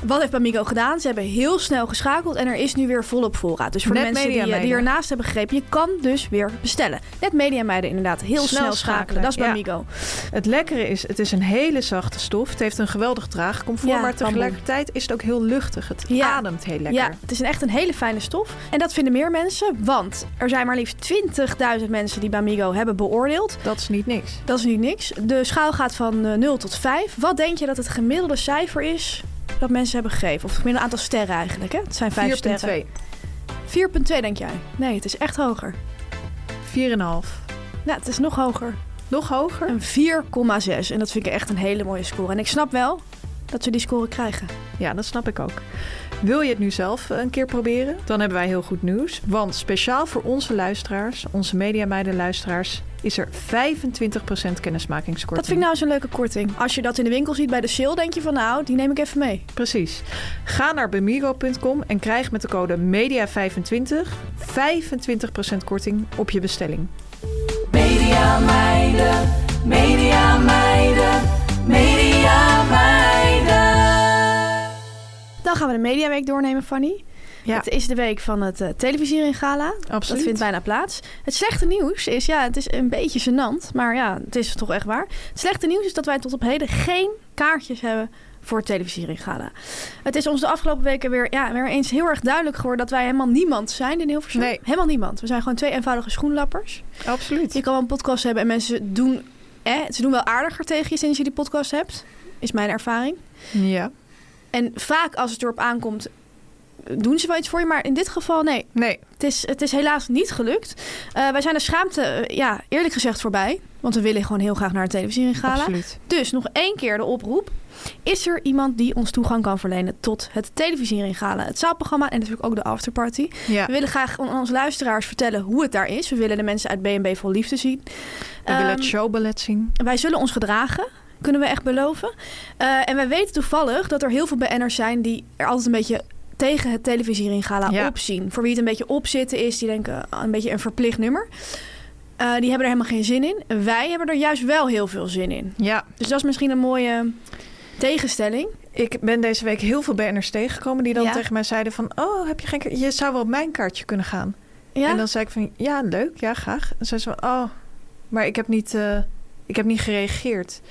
[SPEAKER 5] Wat heeft Bamigo gedaan? Ze hebben heel snel geschakeld en er is nu weer volop voorraad. Dus voor de
[SPEAKER 4] Net
[SPEAKER 5] mensen die, eh, die
[SPEAKER 4] Mediameiden.
[SPEAKER 5] ernaast hebben gegrepen, je kan dus weer bestellen. Net media meiden inderdaad. Heel snel,
[SPEAKER 4] Snel
[SPEAKER 5] schakelen.
[SPEAKER 4] schakelen,
[SPEAKER 5] Dat is
[SPEAKER 4] ja.
[SPEAKER 5] Bamigo.
[SPEAKER 4] Het lekkere is, het is een hele zachte stof. Het heeft een geweldig draagcomfort, maar
[SPEAKER 5] Ja, bamboe.
[SPEAKER 4] tegelijkertijd is het ook heel luchtig. Het
[SPEAKER 5] Ja.
[SPEAKER 4] ademt heel lekker.
[SPEAKER 5] Ja, het is een echt een hele fijne stof. En dat vinden meer mensen, want er zijn maar liefst 20.000 mensen die Bamigo hebben beoordeeld.
[SPEAKER 4] Dat is niet niks.
[SPEAKER 5] Dat is niet niks. De schaal gaat van eh, 0 tot 5. Wat denk je dat het gemiddelde cijfer is dat mensen hebben gegeven? Of het gemiddelde aantal sterren eigenlijk, hè? Het zijn 5 sterren.
[SPEAKER 4] 4,2.
[SPEAKER 5] 4,2 denk jij? Nee, het is echt hoger.
[SPEAKER 4] 4,5.
[SPEAKER 5] Ja, het is nog hoger.
[SPEAKER 4] Nog hoger?
[SPEAKER 5] Een 4,6. En dat vind ik echt een hele mooie score. En ik snap wel dat ze die score krijgen.
[SPEAKER 4] Ja, dat snap ik ook. Wil je het nu zelf eh, een keer proberen? Dan hebben wij heel goed nieuws. Want speciaal voor onze luisteraars, onze mediameiden luisteraars, is er 25% kennismakingskorting.
[SPEAKER 5] Dat vind ik nou eens een leuke korting. Als je dat in de winkel ziet bij de sale, denk je van nou, die neem ik even mee.
[SPEAKER 4] Precies. Ga naar bemigo.com en krijg met de code MEDIA25 25% korting op je bestelling.
[SPEAKER 6] Media meiden, media meiden, media meiden.
[SPEAKER 5] Dan gaan we de Mediaweek doornemen, Fanny.
[SPEAKER 4] Ja.
[SPEAKER 5] Het is de week van het eh, televisiering gala. Dat
[SPEAKER 4] Absoluut.
[SPEAKER 5] vindt bijna plaats. Het slechte nieuws is, ja, het is een beetje gênant, maar ja, het is toch echt waar. Het slechte nieuws is dat wij tot op heden geen kaartjes hebben voor het televisiering gala. Het is ons de afgelopen weken weer, ja, weer eens heel erg duidelijk geworden dat wij helemaal niemand zijn in Hilversum.
[SPEAKER 4] Nee.
[SPEAKER 5] Helemaal niemand. We zijn gewoon twee eenvoudige schoenlappers.
[SPEAKER 4] Absoluut.
[SPEAKER 5] Je kan wel een podcast hebben en mensen doen, eh, ze doen wel aardiger tegen je sinds je die podcast hebt. Is mijn ervaring.
[SPEAKER 4] Ja.
[SPEAKER 5] En vaak als het erop aankomt, doen ze wel iets voor je. Maar in dit geval, nee.
[SPEAKER 4] Nee.
[SPEAKER 5] Het is, het is helaas niet gelukt. Eh, wij zijn de schaamte, eh, ja, eerlijk gezegd, voorbij. Want we willen gewoon heel graag naar een televisiegala.
[SPEAKER 4] Absoluut.
[SPEAKER 5] Dus nog één keer de oproep. Is er iemand die ons toegang kan verlenen tot het televisiegala, het zaalprogramma en natuurlijk ook de afterparty?
[SPEAKER 4] Ja.
[SPEAKER 5] We willen graag aan onze luisteraars vertellen hoe het daar is. We willen de mensen uit B&B vol liefde zien.
[SPEAKER 4] We willen
[SPEAKER 5] Ehm,
[SPEAKER 4] het showballet zien.
[SPEAKER 5] wij zullen ons gedragen. Kunnen we echt beloven. Eh, en wij weten toevallig dat er heel veel BN'ers zijn die er altijd een beetje tegen het televisieringgala
[SPEAKER 4] Ja.
[SPEAKER 5] opzien. Voor wie het een beetje opzitten is, die denken "Ah, een beetje een verplicht nummer. Eh, die hebben er helemaal geen zin in. Wij hebben er juist wel heel veel zin in.
[SPEAKER 4] Ja.
[SPEAKER 5] Dus dat is misschien een mooie tegenstelling.
[SPEAKER 4] Ik ben deze week heel veel BN'ers tegengekomen die dan
[SPEAKER 5] Ja.
[SPEAKER 4] tegen mij zeiden van... Oh, heb je geen kaart? Je zou wel op mijn kaartje kunnen gaan.
[SPEAKER 5] Ja,
[SPEAKER 4] En dan zei ik van, ja, leuk, ja, graag. En zei ze van, oh, maar ik heb niet, eh, ik heb niet gereageerd.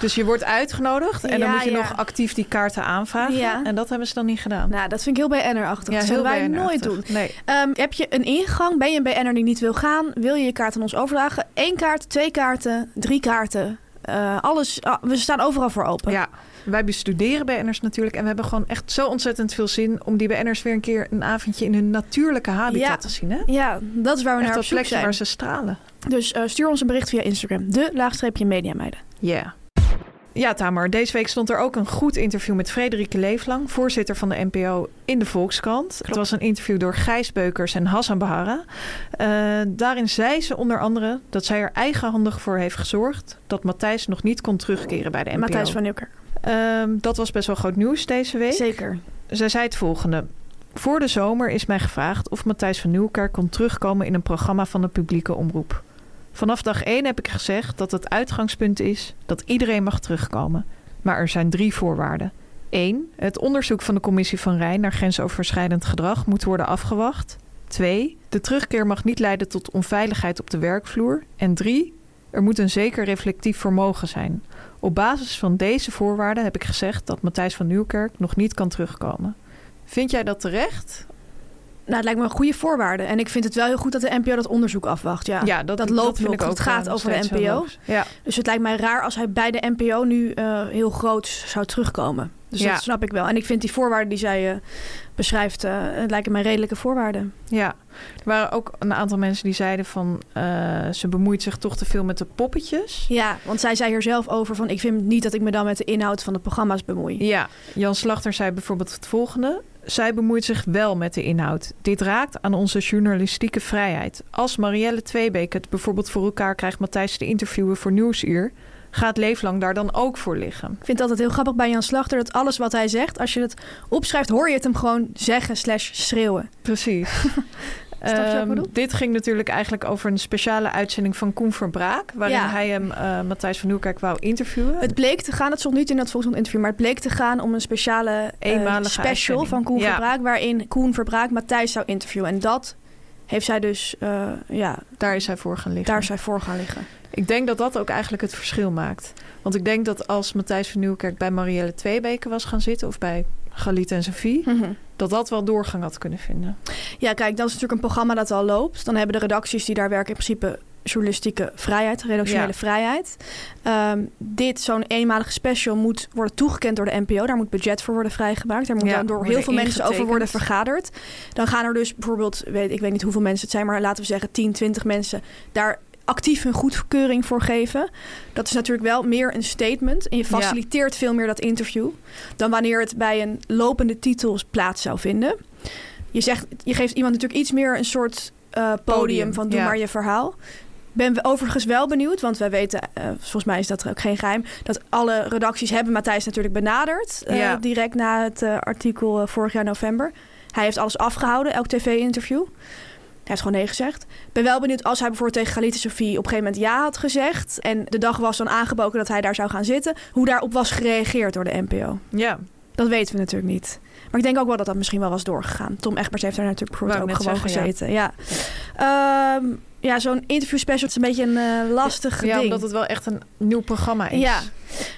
[SPEAKER 4] Dus je wordt uitgenodigd en dan
[SPEAKER 5] Ja,
[SPEAKER 4] moet je
[SPEAKER 5] ja.
[SPEAKER 4] nog actief die kaarten aanvragen.
[SPEAKER 5] Ja.
[SPEAKER 4] En dat hebben ze dan niet gedaan.
[SPEAKER 5] nou, dat vind ik heel BN'er-achtig. dat zullen wij
[SPEAKER 4] BN'er-achtig.
[SPEAKER 5] nooit doen.
[SPEAKER 4] Nee.
[SPEAKER 5] Ehm, heb je een ingang? Ben je een BN'er die niet wil gaan? Wil je je kaart aan ons overdragen? Eén kaart, twee kaarten, drie kaarten. Eh, alles, ah, we staan overal voor open.
[SPEAKER 4] Ja, wij bestuderen BN'ers natuurlijk. En we hebben gewoon echt zo ontzettend veel zin om die BN'ers weer een keer een avondje in hun natuurlijke habitat
[SPEAKER 5] Ja.
[SPEAKER 4] te zien. Hè?
[SPEAKER 5] Ja, dat is waar we
[SPEAKER 4] Echt
[SPEAKER 5] naar op
[SPEAKER 4] dat
[SPEAKER 5] zoek
[SPEAKER 4] plekje
[SPEAKER 5] zijn.
[SPEAKER 4] waar ze stralen.
[SPEAKER 5] Dus eh, stuur ons een bericht via Instagram. De laagstreepje media meiden.
[SPEAKER 4] Ja. Ja, Tamer, deze week stond er ook een goed interview met Frederike Leeflang, voorzitter van de NPO in de Volkskrant. Het was een interview door Gijs Beukers en Hassan Bahara. Eh, daarin zei ze onder andere dat zij er eigenhandig voor heeft gezorgd dat Matthijs nog niet kon terugkeren bij de NPO.
[SPEAKER 5] Matthijs van Nieuwker.
[SPEAKER 4] Ehm, dat was best wel groot nieuws deze week.
[SPEAKER 5] Zeker.
[SPEAKER 4] Zij zei het volgende. Voor de zomer is mij gevraagd of Matthijs van Nieuwkerk kon terugkomen in een programma van de publieke omroep. Vanaf dag 1 heb ik gezegd dat het uitgangspunt is dat iedereen mag terugkomen. Maar er zijn drie voorwaarden. 1. Het onderzoek van de commissie van Rijn naar grensoverschrijdend gedrag moet worden afgewacht. 2. De terugkeer mag niet leiden tot onveiligheid op de werkvloer. En 3. Er moet een zeker reflectief vermogen zijn. Op basis van deze voorwaarden heb ik gezegd dat Matthijs van Nieuwkerk nog niet kan terugkomen. Vind jij dat terecht?
[SPEAKER 5] Nou, het lijkt me een goede voorwaarde. En ik vind het wel heel goed dat de NPO dat onderzoek afwacht. Ja, loopt
[SPEAKER 4] vind
[SPEAKER 5] nog.
[SPEAKER 4] ik
[SPEAKER 5] want
[SPEAKER 4] ook eh,
[SPEAKER 5] Het gaat
[SPEAKER 4] wel
[SPEAKER 5] over de
[SPEAKER 4] steeds heel
[SPEAKER 5] NPO.
[SPEAKER 4] logisch. Ja.
[SPEAKER 5] Dus het lijkt mij raar als hij bij de NPO nu eh, heel groot zou terugkomen. Dus
[SPEAKER 4] Ja.
[SPEAKER 5] dat snap ik wel. En ik vind die voorwaarden die zij eh, beschrijft, eh, lijken mij redelijke voorwaarden.
[SPEAKER 4] Ja, er waren ook een aantal mensen die zeiden van eh, ze bemoeit zich toch te veel met de poppetjes.
[SPEAKER 5] Ja, want zij zei hier zelf over van... ik vind niet dat ik me dan met de inhoud van de programma's bemoei.
[SPEAKER 4] Ja, Jan Slachter zei bijvoorbeeld het volgende. Zij bemoeit zich wel met de inhoud. Dit raakt aan onze journalistieke vrijheid. Als Marielle Tweebeek het bijvoorbeeld voor elkaar krijgt Matthijs te interviewen voor Nieuwsuur, gaat Leeflang daar dan ook voor liggen.
[SPEAKER 5] Ik vind het altijd heel grappig bij Jan Slachter... dat alles wat hij zegt, als je het opschrijft... hoor je het hem gewoon zeggen slash schreeuwen.
[SPEAKER 4] Precies.
[SPEAKER 5] je wat ik
[SPEAKER 4] Ehm,
[SPEAKER 5] bedoel?
[SPEAKER 4] dit ging natuurlijk eigenlijk over een speciale uitzending van Koen Verbraak, waarin
[SPEAKER 5] Ja.
[SPEAKER 4] hij hem eh, Matthijs van Nieuwkerk wou interviewen.
[SPEAKER 5] Het bleek te gaan, het stond niet in dat volgende interview... maar het bleek te gaan om een speciale eh,
[SPEAKER 4] Eenmalige
[SPEAKER 5] special
[SPEAKER 4] uitzending.
[SPEAKER 5] van Koen
[SPEAKER 4] Ja.
[SPEAKER 5] Verbraak... waarin Koen Verbraak Matthijs zou interviewen. En dat heeft zij dus, eh, ja,
[SPEAKER 4] Daar is hij voor gaan liggen.
[SPEAKER 5] daar is zij voor gaan liggen.
[SPEAKER 4] Ik denk dat dat ook eigenlijk het verschil maakt. Want ik denk dat als Matthijs van Nieuwkerk bij Marielle Tweebeke was gaan zitten... of bij Galit en Sophie, dat dat wel doorgang had kunnen vinden.
[SPEAKER 5] Ja, kijk, dat is natuurlijk een programma dat al loopt. Dan hebben de redacties die daar werken in principe journalistieke vrijheid, redactionele
[SPEAKER 4] Ja.
[SPEAKER 5] vrijheid. Ehm, dit, zo'n eenmalige special, moet worden toegekend door de NPO. Daar moet budget voor worden vrijgemaakt. Daar moet
[SPEAKER 4] Ja,
[SPEAKER 5] dan door heel
[SPEAKER 4] worden
[SPEAKER 5] veel mensen over worden
[SPEAKER 4] ingetekend.
[SPEAKER 5] vergaderd. Dan gaan er dus bijvoorbeeld, weet, ik weet niet hoeveel mensen het zijn, maar laten we zeggen 10, 20 mensen daar actief hun goedkeuring voor geven. Dat is natuurlijk wel meer een statement. En je
[SPEAKER 4] Ja.
[SPEAKER 5] faciliteert veel meer dat interview... dan wanneer het bij een lopende titel plaats zou vinden. Je, zegt, je geeft iemand natuurlijk iets meer een soort eh, podium,
[SPEAKER 4] Podium,
[SPEAKER 5] van doe
[SPEAKER 4] ja.
[SPEAKER 5] maar je verhaal. Ben we overigens wel benieuwd, want wij weten, eh, volgens mij is dat ook geen geheim, dat alle redacties hebben Matthijs natuurlijk benaderd. eh,
[SPEAKER 4] Ja.
[SPEAKER 5] Direct na het eh, artikel eh, vorig jaar november. Hij heeft alles afgehouden, elk tv-interview. Hij heeft gewoon nee gezegd. Ben wel benieuwd als hij bijvoorbeeld tegen Galit en Sophie op een gegeven moment ja had gezegd. En de dag was dan aangeboken dat hij daar zou gaan zitten. Hoe daarop was gereageerd door de NPO.
[SPEAKER 4] Ja,
[SPEAKER 5] Dat weten we natuurlijk niet. Maar ik denk ook wel dat dat misschien wel was doorgegaan. Tom Egbers heeft daar natuurlijk bijvoorbeeld
[SPEAKER 4] Wou
[SPEAKER 5] ook
[SPEAKER 4] ik
[SPEAKER 5] gewoon
[SPEAKER 4] net zeggen,
[SPEAKER 5] gezeten. Ja, ja. Ehm, ja zo'n interview special is een beetje een eh, lastig
[SPEAKER 4] ja
[SPEAKER 5] ding.
[SPEAKER 4] omdat het wel echt een nieuw programma is.
[SPEAKER 5] Ja,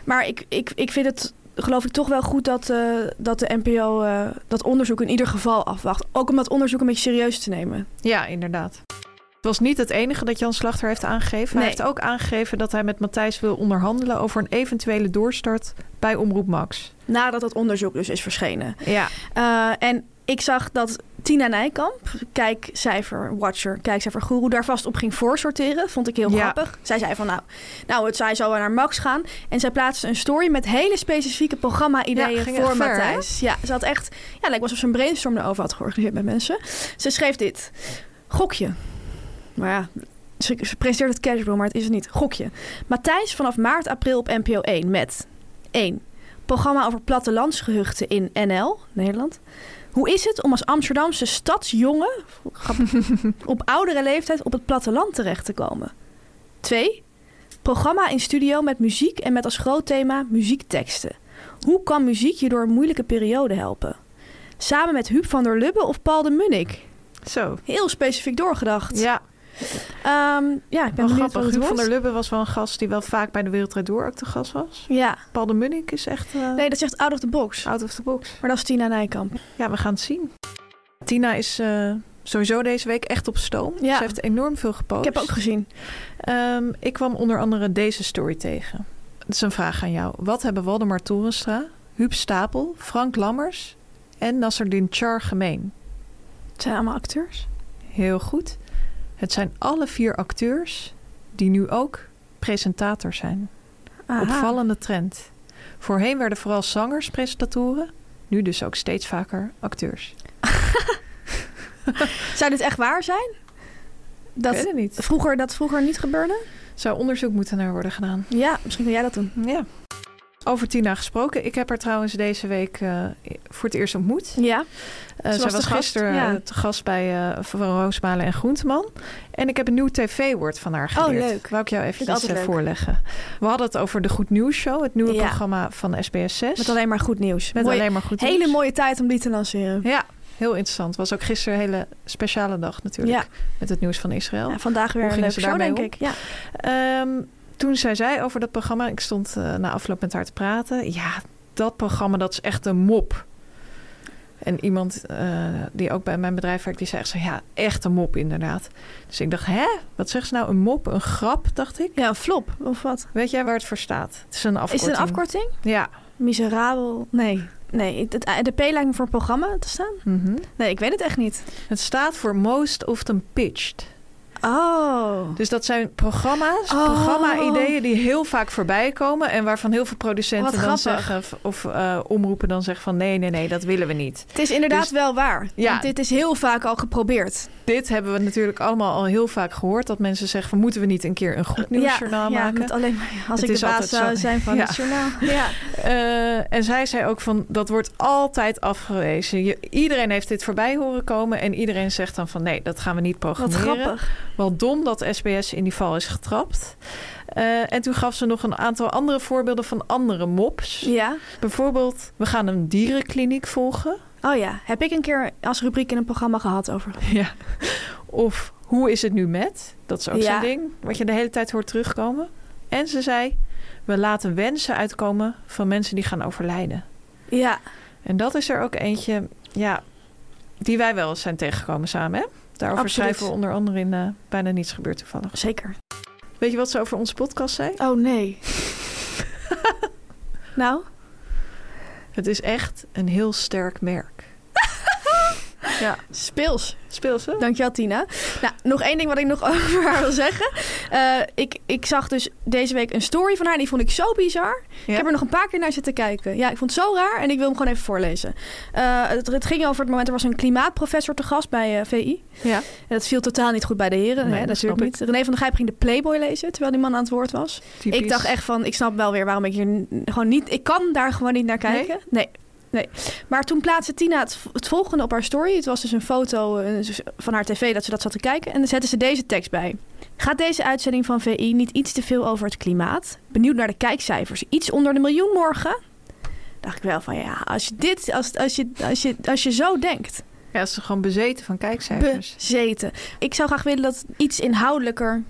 [SPEAKER 5] maar ik, ik, ik vind het geloof ik toch wel goed dat, eh, dat de NPO eh, dat onderzoek in ieder geval afwacht. Ook om dat onderzoek een beetje serieus te nemen.
[SPEAKER 4] ja inderdaad. Het was niet het enige dat Jan Slachter heeft aangegeven.
[SPEAKER 5] Nee.
[SPEAKER 4] Hij heeft ook aangegeven dat hij met Matthijs wil onderhandelen... over een eventuele doorstart bij Omroep Max.
[SPEAKER 5] Nadat dat onderzoek dus is verschenen.
[SPEAKER 4] Ja,
[SPEAKER 5] Eh, en ik zag dat Tina Nijkamp, kijkcijfer watcher, kijkcijfer guru, daar vast op ging voorsorteren. Vond ik heel
[SPEAKER 4] Ja.
[SPEAKER 5] grappig. Zij zei van nou, nou het zij zou naar Max gaan. En zij plaatste een story met hele specifieke
[SPEAKER 4] Ja,
[SPEAKER 5] programma-ideeën
[SPEAKER 4] ging
[SPEAKER 5] voor
[SPEAKER 4] echt ver, hè?
[SPEAKER 5] Matthijs. Ja, ze had echt, ja, lijkt wel alsof ze een brainstorm erover had georganiseerd met mensen. Ze schreef dit. Gokje. Maar ja, ze, ze presenteert het casual, maar het is het niet. Gokje. Matthijs vanaf maart, april op NPO 1 met 1. Programma over plattelandsgehuchten in NL, Nederland. Hoe is het om als Amsterdamse stadsjongen grappig, op oudere leeftijd op het platteland terecht te komen? 2. Programma in studio met muziek en met als groot thema muziekteksten. Hoe kan muziek je door een moeilijke periode helpen? Samen met Huub van der Lubbe of Paul de Munnik?
[SPEAKER 4] zo.
[SPEAKER 5] Heel specifiek doorgedacht.
[SPEAKER 4] Ja,
[SPEAKER 5] Ehm, ja, ik
[SPEAKER 4] wel
[SPEAKER 5] ben benieuwd
[SPEAKER 4] grappig.
[SPEAKER 5] wat het
[SPEAKER 4] Huub van
[SPEAKER 5] wordt.
[SPEAKER 4] der Lubbe was wel een gast die wel vaak bij de Wereldrijd Door ook te gast was.
[SPEAKER 5] Ja,
[SPEAKER 4] Paul de Munnik is echt eh,
[SPEAKER 5] nee, dat zegt out of the box.
[SPEAKER 4] out of the box.
[SPEAKER 5] Maar dat is Tina Nijkamp.
[SPEAKER 4] Ja, we gaan het zien. Tina is eh, sowieso deze week echt op stoom.
[SPEAKER 5] Ja.
[SPEAKER 4] Ze heeft enorm veel
[SPEAKER 5] Ik
[SPEAKER 4] gepost.
[SPEAKER 5] heb ook gezien.
[SPEAKER 4] Ehm, ik kwam onder andere deze story tegen. Het is een vraag aan jou. Wat hebben Waldemar Torenstra, Huub Stapel, Frank Lammers en Nasserdin Char gemeen?
[SPEAKER 5] Het zijn allemaal acteurs.
[SPEAKER 4] Heel goed. Het zijn alle vier acteurs die nu ook presentator zijn.
[SPEAKER 5] Aha.
[SPEAKER 4] Opvallende trend. Voorheen werden vooral zangers presentatoren, nu dus ook steeds vaker acteurs.
[SPEAKER 5] Zou dit echt waar zijn?
[SPEAKER 4] Ik weet
[SPEAKER 5] Dat
[SPEAKER 4] het niet.
[SPEAKER 5] vroeger, dat vroeger niet gebeurde?
[SPEAKER 4] Zou onderzoek moeten naar worden gedaan.
[SPEAKER 5] Ja, misschien wil jij dat doen.
[SPEAKER 4] Ja. Over Tina gesproken. Ik heb haar trouwens deze week eh, voor het eerst ontmoet.
[SPEAKER 5] Ja,
[SPEAKER 4] Eh,
[SPEAKER 5] Ze
[SPEAKER 4] zij
[SPEAKER 5] was
[SPEAKER 4] was,
[SPEAKER 5] te gast,
[SPEAKER 4] gisteren
[SPEAKER 5] ja.
[SPEAKER 4] eh, te gast bij eh Van Roosmalen en Groenteman. En ik heb een nieuw tv-woord van haar
[SPEAKER 5] Oh,
[SPEAKER 4] geleerd.
[SPEAKER 5] leuk.
[SPEAKER 4] Wou ik jou even
[SPEAKER 5] altijd leuk.
[SPEAKER 4] voorleggen. We hadden het over de Goed Nieuws Show, het nieuwe
[SPEAKER 5] Ja.
[SPEAKER 4] programma van SBS 6.
[SPEAKER 5] met alleen maar goed nieuws.
[SPEAKER 4] Met
[SPEAKER 5] Mooi-
[SPEAKER 4] alleen maar goed
[SPEAKER 5] Hele
[SPEAKER 4] nieuws.
[SPEAKER 5] mooie tijd om die te lanceren.
[SPEAKER 4] Ja, heel interessant. Was ook gisteren een hele speciale dag natuurlijk. Met het nieuws van Israël.
[SPEAKER 5] Ja, vandaag weer
[SPEAKER 4] Hoe
[SPEAKER 5] een
[SPEAKER 4] gingen
[SPEAKER 5] leuke
[SPEAKER 4] ze
[SPEAKER 5] show,
[SPEAKER 4] daarmee
[SPEAKER 5] denk ik. Ja.
[SPEAKER 4] Ehm, toen zei zij over dat programma, ik stond eh, na afloop met haar te praten. Ja, dat programma dat is echt een mop. En iemand eh, die ook bij mijn bedrijf werkt, die zei echt zo, ja, echt een mop inderdaad. Dus ik dacht, hè, wat zegt ze nou? Een mop, een grap, dacht ik.
[SPEAKER 5] ja, een flop of wat?
[SPEAKER 4] Weet jij waar het voor staat? Het is een
[SPEAKER 5] Is
[SPEAKER 4] afkorting.
[SPEAKER 5] het een afkorting?
[SPEAKER 4] Ja.
[SPEAKER 5] Miserabel. Nee. Nee, het- het- de P-lijn voor programma te staan?
[SPEAKER 4] Mhm.
[SPEAKER 5] Nee, ik weet het echt niet.
[SPEAKER 4] Het staat voor Most Often Pitched.
[SPEAKER 5] Oh.
[SPEAKER 4] Dus dat zijn programma's,
[SPEAKER 5] Oh.
[SPEAKER 4] programma-ideeën die heel vaak voorbij komen. En waarvan heel veel producenten
[SPEAKER 5] Wat
[SPEAKER 4] dan
[SPEAKER 5] grappig.
[SPEAKER 4] zeggen, of- of eh, omroepen dan zeggen van nee, nee, nee, dat willen we niet.
[SPEAKER 5] Het is inderdaad
[SPEAKER 4] Dus-
[SPEAKER 5] wel waar.
[SPEAKER 4] Ja.
[SPEAKER 5] Want dit is heel vaak al geprobeerd.
[SPEAKER 4] Dit hebben we natuurlijk allemaal al heel vaak gehoord. Dat mensen zeggen van moeten we niet een keer een goed nieuwsjournaal
[SPEAKER 5] ja,
[SPEAKER 4] maken.
[SPEAKER 5] Met alleen maar, als
[SPEAKER 4] Het
[SPEAKER 5] ik
[SPEAKER 4] is
[SPEAKER 5] de baas
[SPEAKER 4] altijd zo.
[SPEAKER 5] zou zijn van
[SPEAKER 4] Ja.
[SPEAKER 5] het journaal. Ja.
[SPEAKER 4] Eh, en zij zei ook van dat wordt altijd afgewezen. Je, iedereen heeft dit voorbij horen komen. En iedereen zegt dan van nee, dat gaan we niet
[SPEAKER 5] Wat
[SPEAKER 4] programmeren.
[SPEAKER 5] grappig.
[SPEAKER 4] Wel dom dat SBS in die val is getrapt. Eh, en toen gaf ze nog een aantal andere voorbeelden van andere mops.
[SPEAKER 5] Ja.
[SPEAKER 4] Bijvoorbeeld, we gaan een dierenkliniek volgen.
[SPEAKER 5] Oh ja, heb ik een keer als rubriek in een programma gehad over.
[SPEAKER 4] Ja. Of hoe is het nu met? Dat is ook
[SPEAKER 5] Ja.
[SPEAKER 4] zo'n ding wat je de hele tijd hoort terugkomen. En ze zei, we laten wensen uitkomen van mensen die gaan overlijden.
[SPEAKER 5] Ja,
[SPEAKER 4] En dat is er ook eentje, ja, die wij wel eens zijn tegengekomen samen. Hè? Daarover
[SPEAKER 5] Absoluut.
[SPEAKER 4] schrijven we onder andere in eh, Bijna Niets Gebeurt Toevallig.
[SPEAKER 5] zeker.
[SPEAKER 4] Weet je wat ze over onze podcast zei?
[SPEAKER 5] Oh nee. nou,
[SPEAKER 4] Het is echt een heel sterk merk. ja,
[SPEAKER 5] speels.
[SPEAKER 4] speel ze?
[SPEAKER 5] Dankjewel, Tina. Nou, nog één ding wat ik nog over haar wil zeggen. Eh, ik, ik zag dus deze week een story van haar. Die vond ik zo bizar. Ik heb er nog een paar keer naar zitten kijken. Ja, ik vond het zo raar en ik wil hem gewoon even voorlezen. Eh, het, het ging over het moment, er was een klimaatprofessor te gast bij eh, VI.
[SPEAKER 4] Ja.
[SPEAKER 5] En dat viel totaal niet goed bij de heren.
[SPEAKER 4] Nee,
[SPEAKER 5] hè,
[SPEAKER 4] dat snap
[SPEAKER 5] natuurlijk
[SPEAKER 4] ik.
[SPEAKER 5] niet. René van der Gijp ging de Playboy lezen, terwijl die man aan het woord was.
[SPEAKER 4] Typisch.
[SPEAKER 5] Ik dacht echt van, ik snap wel weer waarom ik hier n- gewoon niet... Ik kan daar gewoon niet naar kijken. Nee. Nee. Maar toen plaatste Tina het, v- het volgende op haar story. Het was dus een foto eh, dus van haar tv dat ze dat zat te kijken. En dan zette ze deze tekst bij. Gaat deze uitzending van VI niet iets te veel over het klimaat? Benieuwd naar de kijkcijfers. Iets onder de miljoen morgen? Dacht ik wel van ja, als je dit, als, als, je, als, je, als je zo denkt
[SPEAKER 4] Ja, ze is gewoon bezeten van kijkcijfers.
[SPEAKER 5] bezeten. Ik zou graag willen dat iets inhoudelijker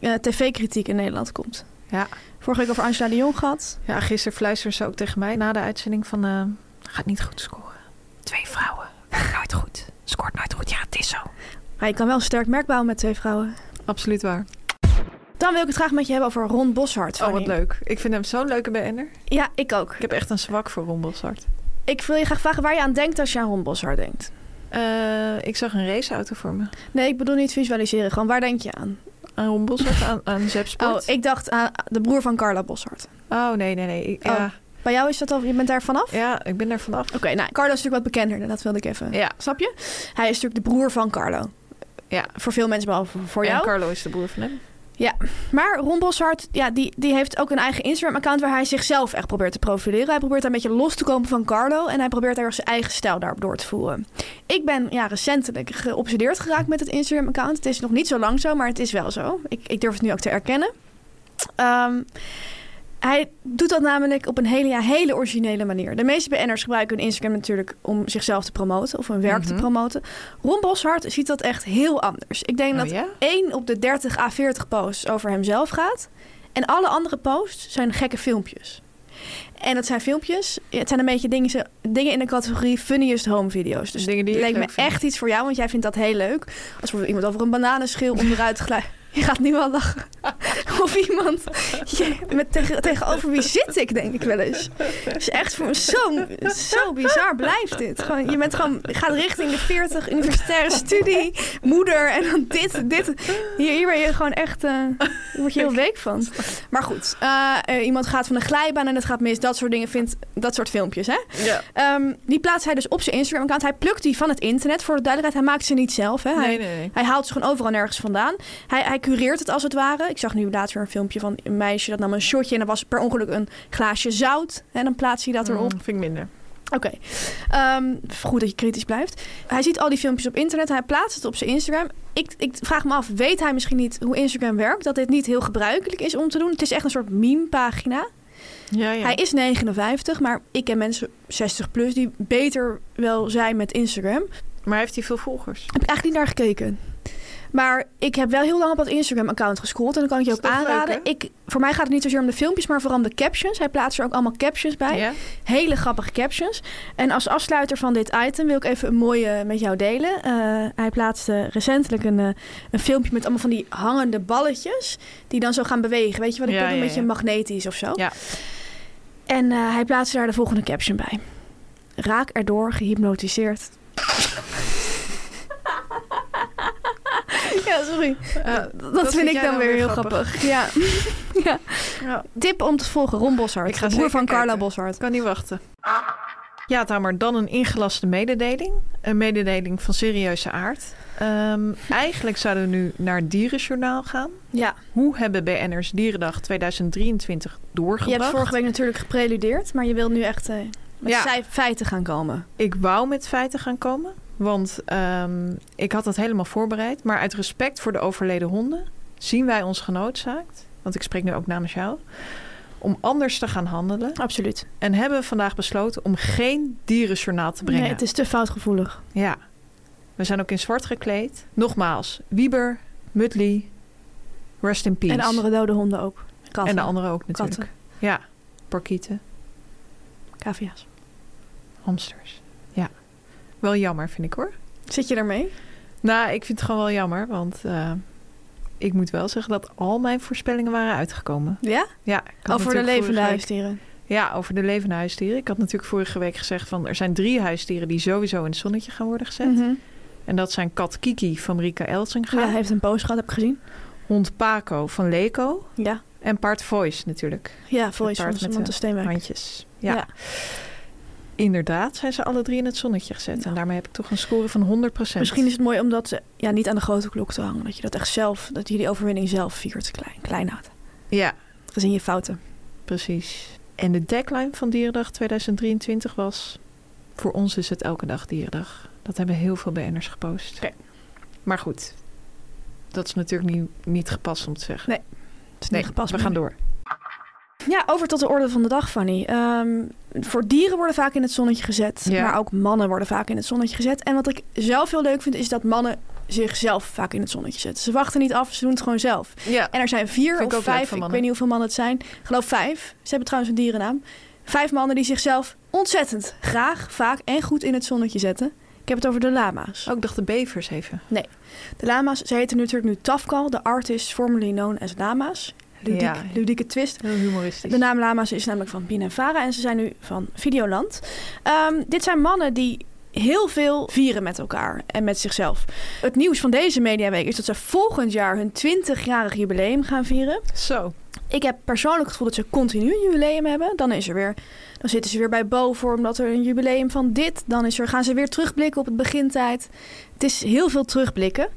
[SPEAKER 5] eh, tv-kritiek in Nederland komt.
[SPEAKER 4] Ja.
[SPEAKER 5] Vorige week over Angela de Jong gehad.
[SPEAKER 4] Ja, gisteren fluisterde ze ook tegen mij na de uitzending van... eh, gaat niet goed scoren. Twee vrouwen. werkt Nooit goed. Scoort nooit goed. Ja, het is zo.
[SPEAKER 5] Maar je kan wel een sterk merk bouwen met twee vrouwen.
[SPEAKER 4] Absoluut waar.
[SPEAKER 5] Dan wil ik het graag met je hebben over Ron Boshart.
[SPEAKER 4] Oh,
[SPEAKER 5] Fanny.
[SPEAKER 4] wat leuk. Ik vind hem zo'n leuke BN'er.
[SPEAKER 5] Ja, ik ook.
[SPEAKER 4] Ik heb echt een zwak voor Ron Bossart.
[SPEAKER 5] Ik wil je graag vragen waar je aan denkt als je aan Ron Boshart denkt.
[SPEAKER 4] Eh, ik zag een raceauto voor me.
[SPEAKER 5] Nee, ik bedoel niet visualiseren. Gewoon waar denk je aan?
[SPEAKER 4] Aan Ron Bossart, aan, aan Zep Sport.
[SPEAKER 5] Oh, ik dacht aan de broer van Carla Boshart.
[SPEAKER 4] Oh, nee, nee, nee. Ik- ja,
[SPEAKER 5] Bij jou is dat al... Je bent daar vanaf?
[SPEAKER 4] ja, ik ben daar vanaf.
[SPEAKER 5] Oké, nou, Carlo is natuurlijk wat bekender. Dat wilde ik even...
[SPEAKER 4] Ja.
[SPEAKER 5] Snap je? Hij is natuurlijk de broer van Carlo.
[SPEAKER 4] Ja.
[SPEAKER 5] Voor veel mensen, behalve voor jou.
[SPEAKER 4] En Carlo is de broer van hem.
[SPEAKER 5] Maar Ron Boshart, ja, die, die heeft ook een eigen Instagram-account waar hij zichzelf echt probeert te profileren. Hij probeert daar een beetje los te komen van Carlo en hij probeert daar zijn eigen stijl daarop door te voeren. Ik ben ja, recentelijk geobsedeerd geraakt met het Instagram-account. Het is nog niet zo lang zo, maar het is wel zo. Ik, ik durf het nu ook te erkennen. Ehm, hij doet dat namelijk op een hele, ja, hele originele manier. De meeste BN'ers gebruiken hun Instagram natuurlijk om zichzelf te promoten of hun werk
[SPEAKER 4] Mhm.
[SPEAKER 5] te promoten. Ron Boshart ziet dat echt heel anders. Ik denk
[SPEAKER 4] Oh,
[SPEAKER 5] dat
[SPEAKER 4] ja?
[SPEAKER 5] 1 op de 30 à 40 posts over hemzelf gaat. En alle andere posts zijn gekke filmpjes. En dat zijn filmpjes, het zijn een beetje dingen, dingen in de categorie funniest home video's. Dus
[SPEAKER 4] Dingen die ik
[SPEAKER 5] leek me
[SPEAKER 4] leuk vind.
[SPEAKER 5] echt iets voor jou, want jij vindt dat heel leuk. Als bijvoorbeeld iemand over een bananenschil onderuit glijdt. Je gaat nu al lachen. Of iemand je, met tegen, tegenover wie zit ik, denk ik wel eens. Het is echt voor me zo, zo bizar blijft dit. Gewoon, je bent gewoon, je gaat richting de 40 universitaire studie, moeder en dan dit, dit. Hier, hier ben je gewoon echt, eh, daar word je heel week van. Maar goed, eh, eh, iemand gaat van een glijbaan en het gaat mis. Dat soort dingen vindt, dat soort filmpjes, hè?
[SPEAKER 4] Ja.
[SPEAKER 5] Ehm, die plaatst hij dus op zijn Instagram-account. Hij plukt die van het internet, voor de duidelijkheid. Hij maakt ze niet zelf, hè? Hij-
[SPEAKER 4] Nee, nee, nee.
[SPEAKER 5] hij haalt ze gewoon overal nergens vandaan. Hij, hij cureert het als het ware. Ik zag nu nu laatst weer een filmpje van een meisje dat nam een shotje en dat was per ongeluk een glaasje zout. En dan plaatst hij dat erop.
[SPEAKER 4] vind ik minder.
[SPEAKER 5] Oké. Ehm, goed dat je kritisch blijft. Hij ziet al die filmpjes op internet. Hij plaatst het op zijn Instagram. Ik, ik vraag me af, weet hij misschien niet hoe Instagram werkt? Dat dit niet heel gebruikelijk is om te doen? Het is echt een soort meme-pagina.
[SPEAKER 4] Ja, ja.
[SPEAKER 5] Hij is 59, maar ik ken mensen 60 plus die beter wel zijn met Instagram.
[SPEAKER 4] Maar heeft hij veel volgers?
[SPEAKER 5] Heb ik eigenlijk niet naar gekeken. Maar ik heb wel heel lang op dat Instagram-account gescrollt. En dan kan ik je
[SPEAKER 4] Is
[SPEAKER 5] ook
[SPEAKER 4] toch
[SPEAKER 5] aanraden.
[SPEAKER 4] leuk, hè?
[SPEAKER 5] ik, voor mij gaat het niet zozeer om de filmpjes, maar vooral om de captions. Hij plaatst er ook allemaal captions bij.
[SPEAKER 4] Ja.
[SPEAKER 5] Hele grappige captions. En als afsluiter van dit item wil ik even een mooie met jou delen. Eh, hij plaatste recentelijk een, eh, een filmpje met allemaal van die hangende balletjes. Die dan zo gaan bewegen. Weet je wat ik
[SPEAKER 4] Ja,
[SPEAKER 5] bedoel? Een
[SPEAKER 4] ja,
[SPEAKER 5] beetje
[SPEAKER 4] ja.
[SPEAKER 5] magnetisch of zo.
[SPEAKER 4] Ja.
[SPEAKER 5] En eh, hij plaatste daar de volgende caption bij. Raak erdoor gehypnotiseerd. ja, sorry.
[SPEAKER 4] Eh,
[SPEAKER 5] dat, vind ik dan, weer heel grappig. Ja. ja.
[SPEAKER 4] Ja.
[SPEAKER 5] Tip om te volgen. Ron Boshart.
[SPEAKER 4] Ik ga
[SPEAKER 5] de
[SPEAKER 4] zeker
[SPEAKER 5] broer van Carla
[SPEAKER 4] kijken.
[SPEAKER 5] Boshart.
[SPEAKER 4] Kan niet wachten. Ja, Tamer, dan een ingelaste mededeling. Een mededeling van serieuze aard. Ehm, eigenlijk zouden we nu naar het Dierenjournaal gaan.
[SPEAKER 5] Ja.
[SPEAKER 4] Hoe hebben BN'ers Dierendag 2023
[SPEAKER 5] Je
[SPEAKER 4] doorgebracht?
[SPEAKER 5] hebt vorige week natuurlijk gepreludeerd, maar je wil nu echt eh, met
[SPEAKER 4] Ja.
[SPEAKER 5] zij- feiten gaan komen.
[SPEAKER 4] Ik wou met feiten gaan komen, want ehm, ik had dat helemaal voorbereid. Maar uit respect voor de overleden honden zien wij ons genoodzaakt, want ik spreek nu ook namens jou, om anders te gaan handelen.
[SPEAKER 5] Absoluut.
[SPEAKER 4] En hebben we vandaag besloten om geen dierenjournaal te brengen.
[SPEAKER 5] Nee, het is te foutgevoelig.
[SPEAKER 4] Ja, we zijn ook in zwart gekleed. Nogmaals, Wieber, Muttley, rest in peace.
[SPEAKER 5] En andere dode honden ook. Katten.
[SPEAKER 4] En de andere ook natuurlijk.
[SPEAKER 5] Katten.
[SPEAKER 4] Ja, porkieten,
[SPEAKER 5] Cavia's.
[SPEAKER 4] hamsters. Ja, wel jammer vind ik hoor.
[SPEAKER 5] Zit je daarmee?
[SPEAKER 4] Nou, ik vind het gewoon wel jammer, want eh, ik moet wel zeggen dat al mijn voorspellingen waren uitgekomen.
[SPEAKER 5] Ja?
[SPEAKER 4] Ja, ik had
[SPEAKER 5] Al voor de
[SPEAKER 4] natuurlijk
[SPEAKER 5] levende
[SPEAKER 4] vorige week-
[SPEAKER 5] huisdieren.
[SPEAKER 4] Ja, over de levende huisdieren. Ik had natuurlijk vorige week gezegd van er zijn drie huisdieren die sowieso in het zonnetje gaan worden gezet.
[SPEAKER 5] Mhm.
[SPEAKER 4] En dat zijn kat Kiki van Rika Elsinga,
[SPEAKER 5] Ja, hij heeft een post gehad, heb ik gezien.
[SPEAKER 4] hond Paco van Leko
[SPEAKER 5] Ja.
[SPEAKER 4] en paard Voice natuurlijk.
[SPEAKER 5] Ja, voice
[SPEAKER 4] paard
[SPEAKER 5] van
[SPEAKER 4] met
[SPEAKER 5] Samantha
[SPEAKER 4] de
[SPEAKER 5] Steenwijk.
[SPEAKER 4] Handjes. Ja.
[SPEAKER 5] Ja.
[SPEAKER 4] Inderdaad zijn ze alle drie in het zonnetje gezet. En
[SPEAKER 5] Nou.
[SPEAKER 4] daarmee heb ik toch een score van 100%.
[SPEAKER 5] Misschien is het mooi om dat eh, ja, niet aan de grote klok te hangen. Dat je dat echt zelf, dat je die overwinning zelf viert. Klein, klein houdt.
[SPEAKER 4] Ja,
[SPEAKER 5] Gezien je fouten.
[SPEAKER 4] Precies. En de tagline van Dierendag 2023 was... Voor ons is het elke dag Dierendag. Dat hebben heel veel BN'ers gepost.
[SPEAKER 5] Oké.
[SPEAKER 4] Maar goed, dat is natuurlijk niet, niet gepast om te zeggen.
[SPEAKER 5] Nee, Het is niet gepast
[SPEAKER 4] we
[SPEAKER 5] meer.
[SPEAKER 4] gaan door.
[SPEAKER 5] Ja, over tot de orde van de dag, Fanny. Ehm, voor dieren worden vaak in het zonnetje gezet.
[SPEAKER 4] Ja.
[SPEAKER 5] Maar ook mannen worden vaak in het zonnetje gezet. En wat ik zelf heel leuk vind, is dat mannen zichzelf vaak in het zonnetje zetten. Ze wachten niet af, ze doen het gewoon zelf.
[SPEAKER 4] Ja.
[SPEAKER 5] En er zijn vier
[SPEAKER 4] Vind ik
[SPEAKER 5] of
[SPEAKER 4] ook leuk
[SPEAKER 5] vijf,
[SPEAKER 4] van
[SPEAKER 5] ik weet
[SPEAKER 4] mannen.
[SPEAKER 5] niet hoeveel mannen het zijn. Ik geloof vijf. Ze hebben trouwens een dierennaam. Vijf mannen die zichzelf ontzettend graag, vaak en goed in het zonnetje zetten. Ik heb het over de lama's.
[SPEAKER 4] Ook dacht de bevers even.
[SPEAKER 5] De lama's, ze heten natuurlijk nu Tafkal, de artist formerly known as lama's. Ludiek,
[SPEAKER 4] Ja.
[SPEAKER 5] Ludieke twist.
[SPEAKER 4] Heel humoristisch.
[SPEAKER 5] De naam Lama's is namelijk van Pina en Vara en ze zijn nu van Videoland. Ehm, dit zijn mannen die heel veel vieren met elkaar en met zichzelf. Het nieuws van deze Mediaweek is dat ze volgend jaar hun 20-jarig jubileum gaan vieren.
[SPEAKER 4] Zo.
[SPEAKER 5] Ik heb persoonlijk het gevoel dat ze continu een jubileum hebben. Dan, is er weer, dan zitten ze weer bij Bo voor omdat er een jubileum van dit. Dan is er, gaan ze weer terugblikken op het begintijd. Het is heel veel terugblikken.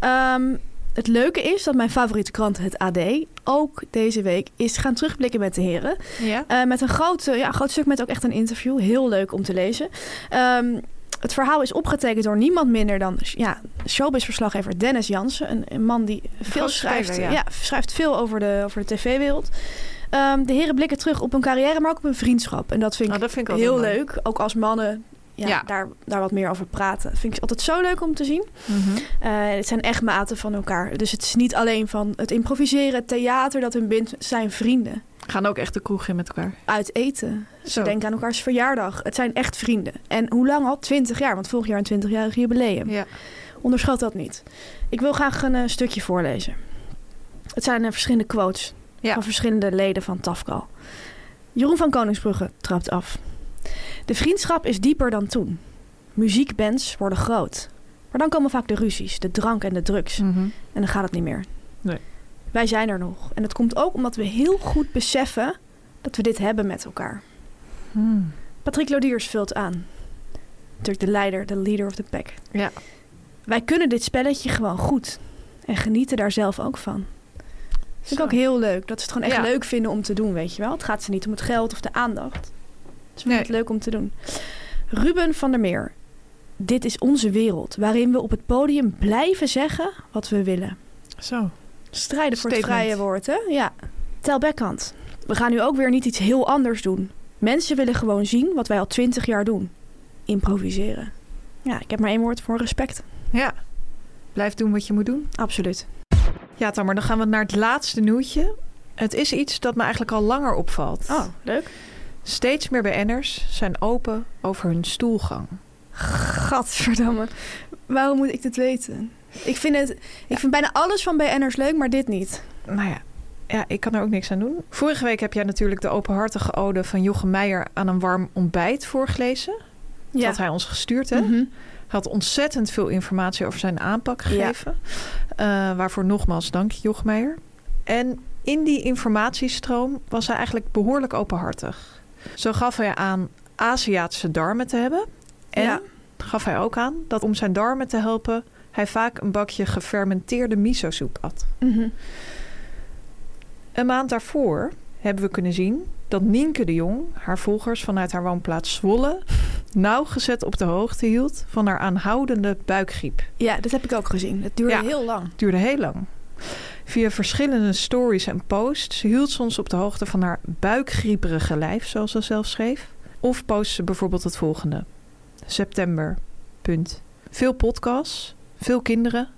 [SPEAKER 5] Ehm, het leuke is dat mijn favoriete krant, het AD, ook deze week is gaan terugblikken met de heren.
[SPEAKER 4] Ja.
[SPEAKER 5] Eh, met een groot, eh, ja, groot stuk met ook echt een interview. Heel leuk om te lezen. Ehm, het verhaal is opgetekend door niemand minder dan ja, showbiz-verslaggever Dennis Jansen. Een, een man die veel
[SPEAKER 4] grote speler,
[SPEAKER 5] schrijft,
[SPEAKER 4] ja.
[SPEAKER 5] ja, schrijft veel over de, over de tv-wereld. Ehm, de heren blikken terug op hun carrière, maar ook op hun vriendschap. En dat vind ik,
[SPEAKER 4] Nou, dat vind ik altijd
[SPEAKER 5] heel
[SPEAKER 4] mooi.
[SPEAKER 5] leuk. Ook als mannen ja,
[SPEAKER 4] Ja.
[SPEAKER 5] Daar, daar wat meer over praten. Dat vind ik altijd zo leuk om te zien.
[SPEAKER 4] Mhm.
[SPEAKER 5] Eh, het zijn echt maten van elkaar. Dus het is niet alleen van het improviseren, het theater dat hun bindt. Het zijn vrienden
[SPEAKER 4] Gaan ook echt de kroeg in met elkaar.
[SPEAKER 5] uit eten. Ze
[SPEAKER 4] Zo.
[SPEAKER 5] denken aan elkaars verjaardag. Het zijn echt vrienden. En hoe lang al? 20 jaar, want vorig jaar een 20-jarig jubileum.
[SPEAKER 4] Ja.
[SPEAKER 5] Onderschat dat niet. Ik wil graag een eh, stukje voorlezen. Het zijn eh, verschillende quotes
[SPEAKER 4] Ja.
[SPEAKER 5] van verschillende leden van Tafkal. Jeroen van Koningsbrugge trapt af. De vriendschap is dieper dan toen. Muziekbands worden groot. Maar dan komen vaak de ruzies, de drank en de drugs.
[SPEAKER 4] Mhm.
[SPEAKER 5] En dan gaat het niet meer.
[SPEAKER 4] Nee.
[SPEAKER 5] Wij zijn er nog. En dat komt ook omdat we heel goed beseffen dat we dit hebben met elkaar.
[SPEAKER 4] Hmm.
[SPEAKER 5] Patrick Lodiers vult aan. Natuurlijk de leider, de leader of the pack.
[SPEAKER 4] Ja.
[SPEAKER 5] Wij kunnen dit spelletje gewoon goed. En genieten daar zelf ook van. Vind ik ook heel leuk. Dat ze het gewoon echt
[SPEAKER 4] Ja.
[SPEAKER 5] leuk vinden om te doen, weet je wel. Het gaat ze niet om het geld of de aandacht. Ze vinden
[SPEAKER 4] Nee.
[SPEAKER 5] het leuk om te doen. Ruben van der Meer. Dit is onze wereld, waarin we op het podium blijven zeggen wat we willen.
[SPEAKER 4] Zo.
[SPEAKER 5] Strijden voor het
[SPEAKER 4] Statement.
[SPEAKER 5] vrije woord, hè? Ja. Tel Beckhand. We gaan nu ook weer niet iets heel anders doen. Mensen willen gewoon zien wat wij al twintig jaar doen. Improviseren. Ja, ik heb maar één woord voor respect.
[SPEAKER 4] Ja. Blijf doen wat je moet doen.
[SPEAKER 5] Absoluut.
[SPEAKER 4] Ja, Tamar, dan gaan we naar het laatste nieuwtje. Het is iets dat me eigenlijk al langer opvalt.
[SPEAKER 5] Oh, leuk.
[SPEAKER 4] Steeds meer BN'ers zijn open over hun stoelgang.
[SPEAKER 5] Gadverdamme. Waarom moet ik dit weten? Ik vind, het, ik vind bijna alles van BN'ers leuk, maar dit niet.
[SPEAKER 4] Nou ja, ja, ik kan er ook niks aan doen. Vorige week heb jij natuurlijk de openhartige ode van Jochem Meijer aan een warm ontbijt voorgelezen. Dat had hij ons gestuurd, hè?
[SPEAKER 5] Mhm.
[SPEAKER 4] had ontzettend veel informatie over zijn aanpak gegeven. Eh, waarvoor nogmaals dank, Jochem Meijer. En in die informatiestroom was hij eigenlijk behoorlijk openhartig. Zo gaf hij aan Aziatische darmen te hebben. En
[SPEAKER 5] Ja.
[SPEAKER 4] gaf hij ook aan dat om zijn darmen te helpen... hij vaak een bakje gefermenteerde miso-soep at.
[SPEAKER 5] Mhm.
[SPEAKER 4] Een maand daarvoor hebben we kunnen zien dat Nienke de Jong... haar volgers vanuit haar woonplaats Zwolle... nauwgezet op de hoogte hield van haar aanhoudende buikgriep.
[SPEAKER 5] Ja, dat heb ik ook gezien. Dat duurde
[SPEAKER 4] Ja.
[SPEAKER 5] heel lang.
[SPEAKER 4] duurde heel lang. Via verschillende stories en posts hield ze ons op de hoogte van haar buikgrieperige lijf, zoals ze zelf schreef. Of post ze bijvoorbeeld het volgende. September. Punt. Veel podcasts, veel kinderen,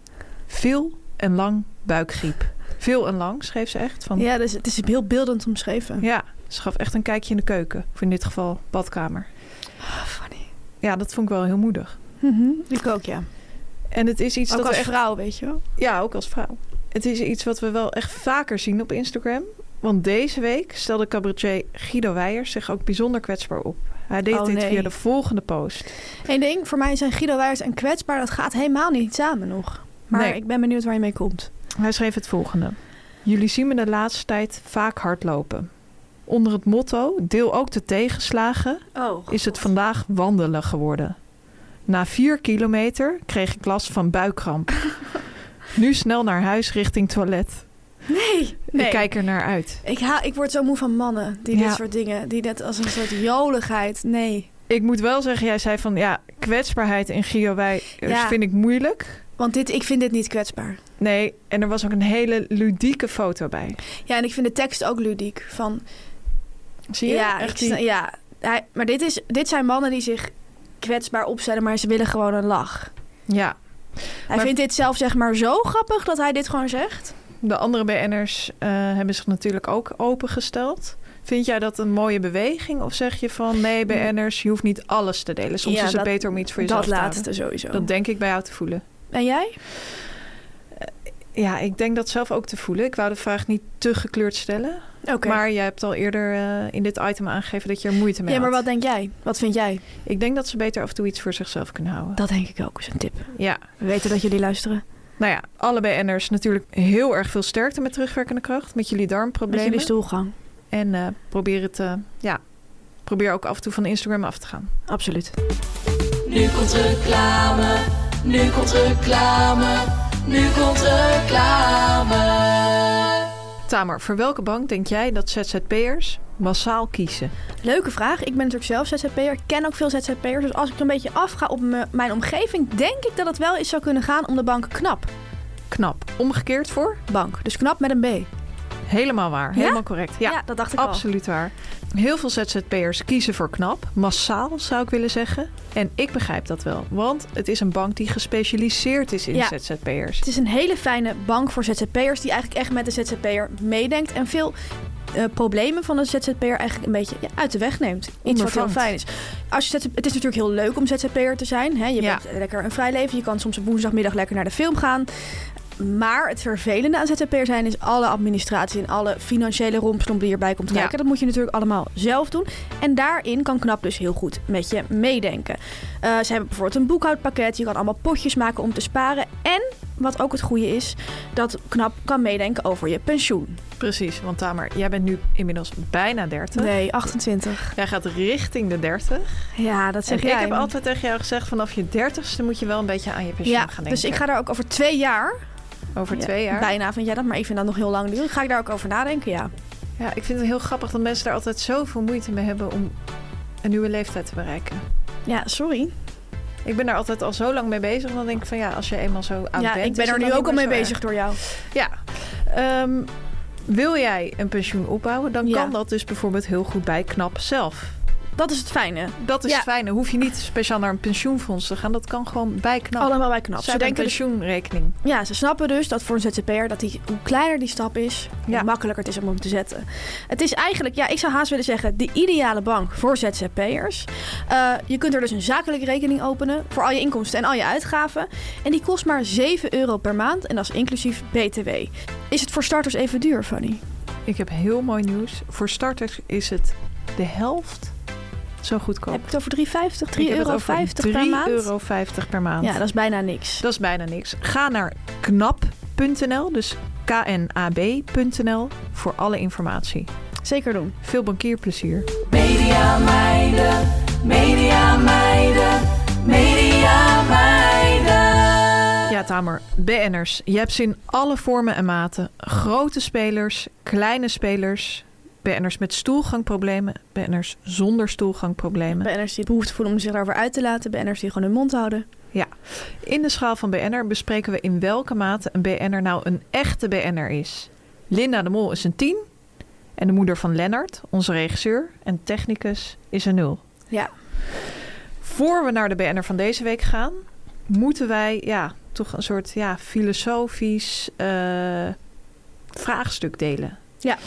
[SPEAKER 4] veel en lang buikgriep. Veel en lang, schreef ze echt. Van,
[SPEAKER 5] Ja, dus het is heel beeldend omschreven.
[SPEAKER 4] ja, ze gaf echt een kijkje in de keuken. Of in dit geval badkamer.
[SPEAKER 5] Ah, funny.
[SPEAKER 4] Ja, dat vond ik wel heel moedig.
[SPEAKER 5] Mhm. Ik ook, ja.
[SPEAKER 4] En het is iets
[SPEAKER 5] ook
[SPEAKER 4] dat
[SPEAKER 5] als
[SPEAKER 4] we echt
[SPEAKER 5] vrouw, weet je wel.
[SPEAKER 4] Ja, ook als vrouw. Het is iets wat we wel echt vaker zien op Instagram. Want deze week stelde cabaretier Guido Weijers zich ook bijzonder kwetsbaar op. Hij deed
[SPEAKER 5] Oh,
[SPEAKER 4] dit
[SPEAKER 5] nee.
[SPEAKER 4] via de volgende post.
[SPEAKER 5] Eén ding, voor mij zijn Guido Weijers en kwetsbaar, dat gaat helemaal niet samen nog. Maar
[SPEAKER 4] Nee.
[SPEAKER 5] ik ben benieuwd waar je mee komt.
[SPEAKER 4] Hij schreef het volgende. Jullie zien me de laatste tijd vaak hardlopen. Onder het motto, deel ook de tegenslagen,
[SPEAKER 5] Oh,
[SPEAKER 4] is het vandaag wandelen geworden. Na vier kilometer kreeg ik last van buikkramp. nu snel naar huis richting toilet.
[SPEAKER 5] Nee, nee.
[SPEAKER 4] Ik kijk er naar uit.
[SPEAKER 5] Ik, ha- ik word zo moe van mannen die
[SPEAKER 4] Ja.
[SPEAKER 5] dit soort dingen, die dit als een soort joligheid. Nee,
[SPEAKER 4] Ik moet wel zeggen, jij zei van ja, kwetsbaarheid in Gio wij eh,
[SPEAKER 5] Ja.
[SPEAKER 4] vind ik moeilijk.
[SPEAKER 5] want dit, ik vind dit niet kwetsbaar.
[SPEAKER 4] Nee, en er was ook een hele ludieke foto bij.
[SPEAKER 5] Ja, en ik vind de tekst ook ludiek. Van,
[SPEAKER 4] Zie je?
[SPEAKER 5] ja, ik
[SPEAKER 4] echt die-
[SPEAKER 5] sna- ja. Hij- maar dit, is, dit zijn mannen die zich kwetsbaar opstellen, maar ze willen gewoon een lach.
[SPEAKER 4] ja.
[SPEAKER 5] Hij
[SPEAKER 4] Maar-
[SPEAKER 5] vindt dit zelf zeg maar zo grappig dat hij dit gewoon zegt.
[SPEAKER 4] De andere BN'ers eh, hebben zich natuurlijk ook opengesteld. Vind jij dat een mooie beweging? Of zeg je van nee, BN'ers, je hoeft niet alles te delen. Soms
[SPEAKER 5] Ja,
[SPEAKER 4] is het
[SPEAKER 5] dat-
[SPEAKER 4] beter om iets voor jezelf
[SPEAKER 5] Dat
[SPEAKER 4] te houden.
[SPEAKER 5] laatste sowieso.
[SPEAKER 4] Dat denk ik bij jou te voelen.
[SPEAKER 5] En jij?
[SPEAKER 4] Ja, ik denk dat zelf ook te voelen. Ik wou de vraag niet te gekleurd stellen.
[SPEAKER 5] Oké.
[SPEAKER 4] Maar jij hebt al eerder eh, in dit item aangegeven dat je er moeite mee
[SPEAKER 5] Ja, maar
[SPEAKER 4] had.
[SPEAKER 5] wat denk jij? Wat vind jij?
[SPEAKER 4] Ik denk dat ze beter af en toe iets voor zichzelf kunnen houden.
[SPEAKER 5] Dat denk ik ook, is een tip.
[SPEAKER 4] Ja.
[SPEAKER 5] We weten dat jullie luisteren.
[SPEAKER 4] Nou ja, alle BN'ers natuurlijk heel erg veel sterkte met terugwerkende kracht. Met jullie
[SPEAKER 5] Met
[SPEAKER 4] darmproblemen.
[SPEAKER 5] jullie stoelgang.
[SPEAKER 4] en eh, probeer het, eh, ja, probeer ook af en toe van Instagram af te gaan.
[SPEAKER 5] Absoluut.
[SPEAKER 6] Nu komt reclame, nu komt reclame, nu komt reclame.
[SPEAKER 4] Tamer, voor welke bank denk jij dat ZZP'ers massaal kiezen?
[SPEAKER 5] Leuke vraag. Ik ben natuurlijk zelf ZZP'er, ken ook veel ZZP'ers. Dus als ik een beetje afga op me- mijn omgeving, denk ik dat het wel eens zou kunnen gaan om de bank Knap.
[SPEAKER 4] Knap. Omgekeerd voor?
[SPEAKER 5] Bank. Dus Knap met een B.
[SPEAKER 4] Helemaal waar.
[SPEAKER 5] Ja?
[SPEAKER 4] Helemaal correct. Ja,
[SPEAKER 5] dat dacht ik al.
[SPEAKER 4] absoluut waar. Heel veel ZZP'ers kiezen voor knap. Massaal zou ik willen zeggen. En ik begrijp dat wel. Want het is een bank die gespecialiseerd is in
[SPEAKER 5] Ja.
[SPEAKER 4] ZZP'ers.
[SPEAKER 5] Het is een hele fijne bank voor ZZP'ers die eigenlijk echt met de ZZP'er meedenkt en veel eh, problemen van de ZZP'er eigenlijk een beetje ja, uit de weg neemt. Iets wat heel
[SPEAKER 4] Ondervangt.
[SPEAKER 5] fijn is. Als je ZZP het is natuurlijk heel leuk om ZZP'er te zijn. Hè? Je
[SPEAKER 4] Ja.
[SPEAKER 5] bent lekker een vrij leven. Je kan soms op woensdagmiddag lekker naar de film gaan. Maar het vervelende aan ZZP'er zijn is alle administratie en alle financiële rompslomp die erbij komt
[SPEAKER 4] Ja.
[SPEAKER 5] kijken. Dat moet je natuurlijk allemaal zelf doen. En daarin kan Knap dus heel goed met je meedenken. Eh, ze hebben bijvoorbeeld een boekhoudpakket. Je kan allemaal potjes maken om te sparen. En wat ook het goede is, dat Knap kan meedenken over je pensioen.
[SPEAKER 4] Precies, want Tamer, jij bent nu inmiddels bijna 30.
[SPEAKER 5] Nee, 28.
[SPEAKER 4] Jij gaat richting de 30.
[SPEAKER 5] Ja, dat zeg
[SPEAKER 4] en
[SPEAKER 5] jij.
[SPEAKER 4] ik heb
[SPEAKER 5] maar-
[SPEAKER 4] altijd tegen jou gezegd: vanaf je 30ste moet je wel een beetje aan je pensioen
[SPEAKER 5] ja,
[SPEAKER 4] gaan denken.
[SPEAKER 5] dus ik ga daar ook over twee jaar
[SPEAKER 4] Over
[SPEAKER 5] Ja,
[SPEAKER 4] twee jaar.
[SPEAKER 5] Bijna, van ja, dat maar ik vind dat nog heel lang duren. Ga ik daar ook over nadenken, ja.
[SPEAKER 4] Ja, ik vind het heel grappig dat mensen daar altijd zoveel moeite mee hebben om een nieuwe leeftijd te bereiken.
[SPEAKER 5] Ja, sorry.
[SPEAKER 4] Ik ben daar altijd al zo lang mee bezig. Dan denk ik van ja, als je eenmaal zo oud
[SPEAKER 5] ja,
[SPEAKER 4] bent...
[SPEAKER 5] ik ben
[SPEAKER 4] is
[SPEAKER 5] er
[SPEAKER 4] het
[SPEAKER 5] nu
[SPEAKER 4] dan
[SPEAKER 5] ook al
[SPEAKER 4] niet
[SPEAKER 5] mee
[SPEAKER 4] meer zo
[SPEAKER 5] bezig door jou.
[SPEAKER 4] erg. Ja. Ehm, wil jij een pensioen opbouwen, dan
[SPEAKER 5] Ja.
[SPEAKER 4] kan dat dus bijvoorbeeld heel goed bij KNAP zelf.
[SPEAKER 5] Dat is het fijne.
[SPEAKER 4] Dat is
[SPEAKER 5] Ja.
[SPEAKER 4] het fijne. Hoef je niet speciaal naar een pensioenfonds te gaan. Dat kan gewoon bij KNAP.
[SPEAKER 5] Allemaal bij knap.
[SPEAKER 4] Zij
[SPEAKER 5] Ze
[SPEAKER 4] hebben een
[SPEAKER 5] Nou, denken dus,
[SPEAKER 4] pensioenrekening.
[SPEAKER 5] ja, ze snappen dus dat voor een ZZP'er, dat die, hoe kleiner die stap is,
[SPEAKER 4] Ja.
[SPEAKER 5] hoe makkelijker het is om hem te zetten. Het is eigenlijk, ja, ik zou haast willen zeggen, de ideale bank voor ZZP'ers. Eh, je kunt er dus een zakelijke rekening openen voor al je inkomsten en al je uitgaven. En die kost maar 7 euro per maand en dat is inclusief BTW. Is het voor starters even duur, Fanny?
[SPEAKER 4] Ik heb heel mooi nieuws. Voor starters is het de helft zo goedkoop.
[SPEAKER 5] Heb ik het over 3,50? 3,50
[SPEAKER 4] Ik heb het over
[SPEAKER 5] euro per
[SPEAKER 4] 3,50
[SPEAKER 5] maand?
[SPEAKER 4] euro per maand.
[SPEAKER 5] Ja, dat is bijna niks.
[SPEAKER 4] Dat is bijna niks. Ga naar knap.nl, dus knab.nl voor alle informatie.
[SPEAKER 5] Zeker doen.
[SPEAKER 4] Veel bankierplezier.
[SPEAKER 6] Media meiden, media meiden, media meiden.
[SPEAKER 4] Ja, Tamer, BN'ers. Je hebt ze in alle vormen en maten. Grote spelers, kleine spelers. BN'ers met stoelgangproblemen. BN'ers zonder stoelgangproblemen.
[SPEAKER 5] BN'ers die behoefte voelen om zich daarover uit te laten. BN'ers die gewoon hun mond houden.
[SPEAKER 4] Ja. In de schaal van BN'er bespreken we in welke mate een BN'er nou een echte BN'er is. Linda de Mol is een 10. En de moeder van Lennart, onze regisseur en technicus, is een 0.
[SPEAKER 5] Ja.
[SPEAKER 4] Voor we naar de BN'er van deze week gaan, moeten wij ja, toch een soort ja, filosofisch eh, vraagstuk delen.
[SPEAKER 5] Ja.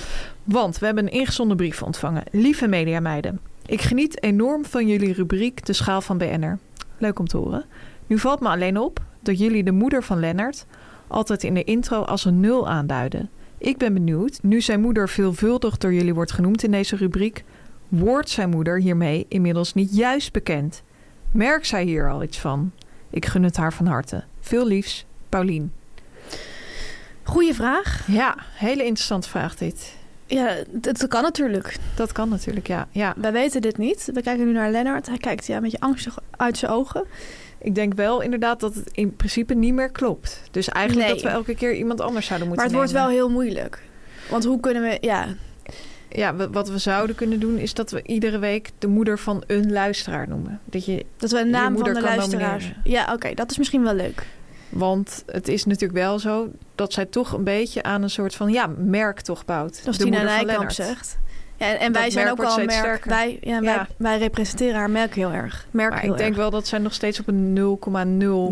[SPEAKER 4] Want we hebben een ingezonden brief ontvangen. Lieve mediameiden, ik geniet enorm van jullie rubriek De Schaal van BN'er. Leuk om te horen. Nu valt me alleen op dat jullie de moeder van Lennart altijd in de intro als een nul aanduiden. Ik ben benieuwd, nu zijn moeder veelvuldig door jullie wordt genoemd in deze rubriek, wordt zijn moeder hiermee inmiddels niet juist bekend? Merkt zij hier al iets van? Ik gun het haar van harte. Veel liefs, Paulien.
[SPEAKER 5] Goeie vraag.
[SPEAKER 4] Ja, hele interessante vraag dit.
[SPEAKER 5] Ja, dat kan natuurlijk.
[SPEAKER 4] Dat kan natuurlijk, ja. ja.
[SPEAKER 5] Wij weten dit niet. We kijken nu naar Lennart. Hij kijkt ja, een beetje angstig uit zijn ogen.
[SPEAKER 4] Ik denk wel inderdaad dat het in principe niet meer klopt. Dus eigenlijk
[SPEAKER 5] Nee.
[SPEAKER 4] dat we elke keer iemand anders zouden
[SPEAKER 5] maar
[SPEAKER 4] moeten
[SPEAKER 5] het wordt wel
[SPEAKER 4] nemen.
[SPEAKER 5] heel moeilijk. Want hoe kunnen we... Ja,
[SPEAKER 4] Ja, we- wat we zouden kunnen doen is dat we iedere week de moeder van een luisteraar noemen. Dat je,
[SPEAKER 5] dat we een
[SPEAKER 4] Je
[SPEAKER 5] naam van
[SPEAKER 4] moeder
[SPEAKER 5] de
[SPEAKER 4] kan
[SPEAKER 5] luisteraars...
[SPEAKER 4] nomineren.
[SPEAKER 5] Ja, oké. dat is misschien wel leuk.
[SPEAKER 4] want het is natuurlijk wel zo dat zij toch een beetje aan een soort van ja, merk toch bouwt.
[SPEAKER 5] Zoals
[SPEAKER 4] de
[SPEAKER 5] Tina
[SPEAKER 4] moeder van
[SPEAKER 5] Nijkamp
[SPEAKER 4] Lennart.
[SPEAKER 5] zegt. Ja, en, en wij
[SPEAKER 4] merk
[SPEAKER 5] zijn ook
[SPEAKER 4] wordt
[SPEAKER 5] al een merk.
[SPEAKER 4] steeds sterker.
[SPEAKER 5] Wij, ja, wij,
[SPEAKER 4] Ja.
[SPEAKER 5] wij representeren haar merk heel erg. Merk
[SPEAKER 4] Maar
[SPEAKER 5] heel
[SPEAKER 4] ik denk
[SPEAKER 5] erg.
[SPEAKER 4] wel dat zij nog steeds op een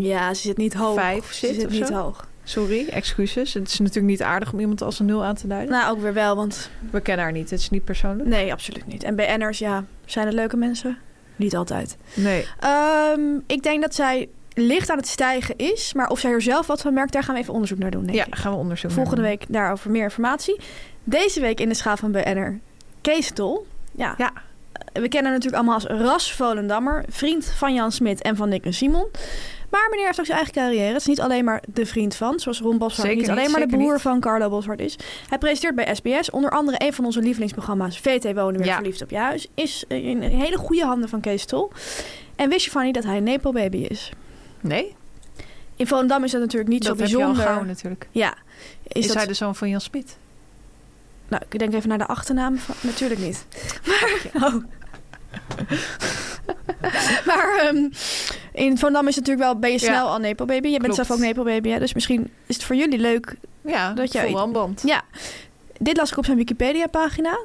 [SPEAKER 4] 0,0.
[SPEAKER 5] Ja, ze zit niet hoog.
[SPEAKER 4] Vijf
[SPEAKER 5] ze
[SPEAKER 4] zit
[SPEAKER 5] zit
[SPEAKER 4] of
[SPEAKER 5] niet
[SPEAKER 4] zo?
[SPEAKER 5] hoog.
[SPEAKER 4] Sorry, excuses. Het is natuurlijk niet aardig om iemand als een 0 aan te duiden.
[SPEAKER 5] Nou, ook weer wel, want
[SPEAKER 4] We kennen haar niet. Het is niet persoonlijk.
[SPEAKER 5] Nee, absoluut niet. En BN'ers, ja, zijn het leuke mensen? Niet altijd.
[SPEAKER 4] Nee.
[SPEAKER 5] Ehm, ik denk dat zij licht aan het stijgen is. Maar of zij er zelf wat van merkt, daar gaan we even onderzoek naar doen. Denk
[SPEAKER 4] Ja,
[SPEAKER 5] ik.
[SPEAKER 4] gaan we onderzoeken.
[SPEAKER 5] Volgende week daarover meer informatie. Deze week in de schaal van BN'er Kees Tol. Ja.
[SPEAKER 4] Ja.
[SPEAKER 5] We kennen hem natuurlijk allemaal als Ras Volendammer. Vriend van Jan Smit en van Nick en Simon. Maar meneer heeft ook zijn eigen carrière. Het is niet alleen maar de vriend van, zoals Ron Boswart.
[SPEAKER 4] Zeker
[SPEAKER 5] Niet alleen
[SPEAKER 4] niet,
[SPEAKER 5] maar de
[SPEAKER 4] zeker
[SPEAKER 5] broer
[SPEAKER 4] niet.
[SPEAKER 5] van Carlo Boswart is. Hij presenteert bij SBS onder andere een van onze lievelingsprogramma's. VT Wonen weer
[SPEAKER 4] Ja.
[SPEAKER 5] verliefd op je huis. Is in hele goede handen van Kees Tol. En wist je van niet dat hij een Nepo baby is?
[SPEAKER 4] Nee?
[SPEAKER 5] In Volendam is dat natuurlijk niet
[SPEAKER 4] dat
[SPEAKER 5] zo
[SPEAKER 4] heb je al
[SPEAKER 5] bijzonder.
[SPEAKER 4] gauw natuurlijk.
[SPEAKER 5] ja. Is,
[SPEAKER 4] Is,
[SPEAKER 5] dat...
[SPEAKER 4] hij de zoon van Jan Smit?
[SPEAKER 5] Nou, ik denk even naar de achternaam. Van... Natuurlijk niet. Maar, oh. maar ehm, in Volendam is het natuurlijk wel, ben je
[SPEAKER 4] Ja.
[SPEAKER 5] snel al Nepo baby. Je bent
[SPEAKER 4] Klopt.
[SPEAKER 5] zelf ook Nepo baby, hè? dus misschien is het voor jullie leuk.
[SPEAKER 4] Ja,
[SPEAKER 5] Dat jij-
[SPEAKER 4] vol aanband.
[SPEAKER 5] Ja, dit las ik op zijn Wikipedia pagina.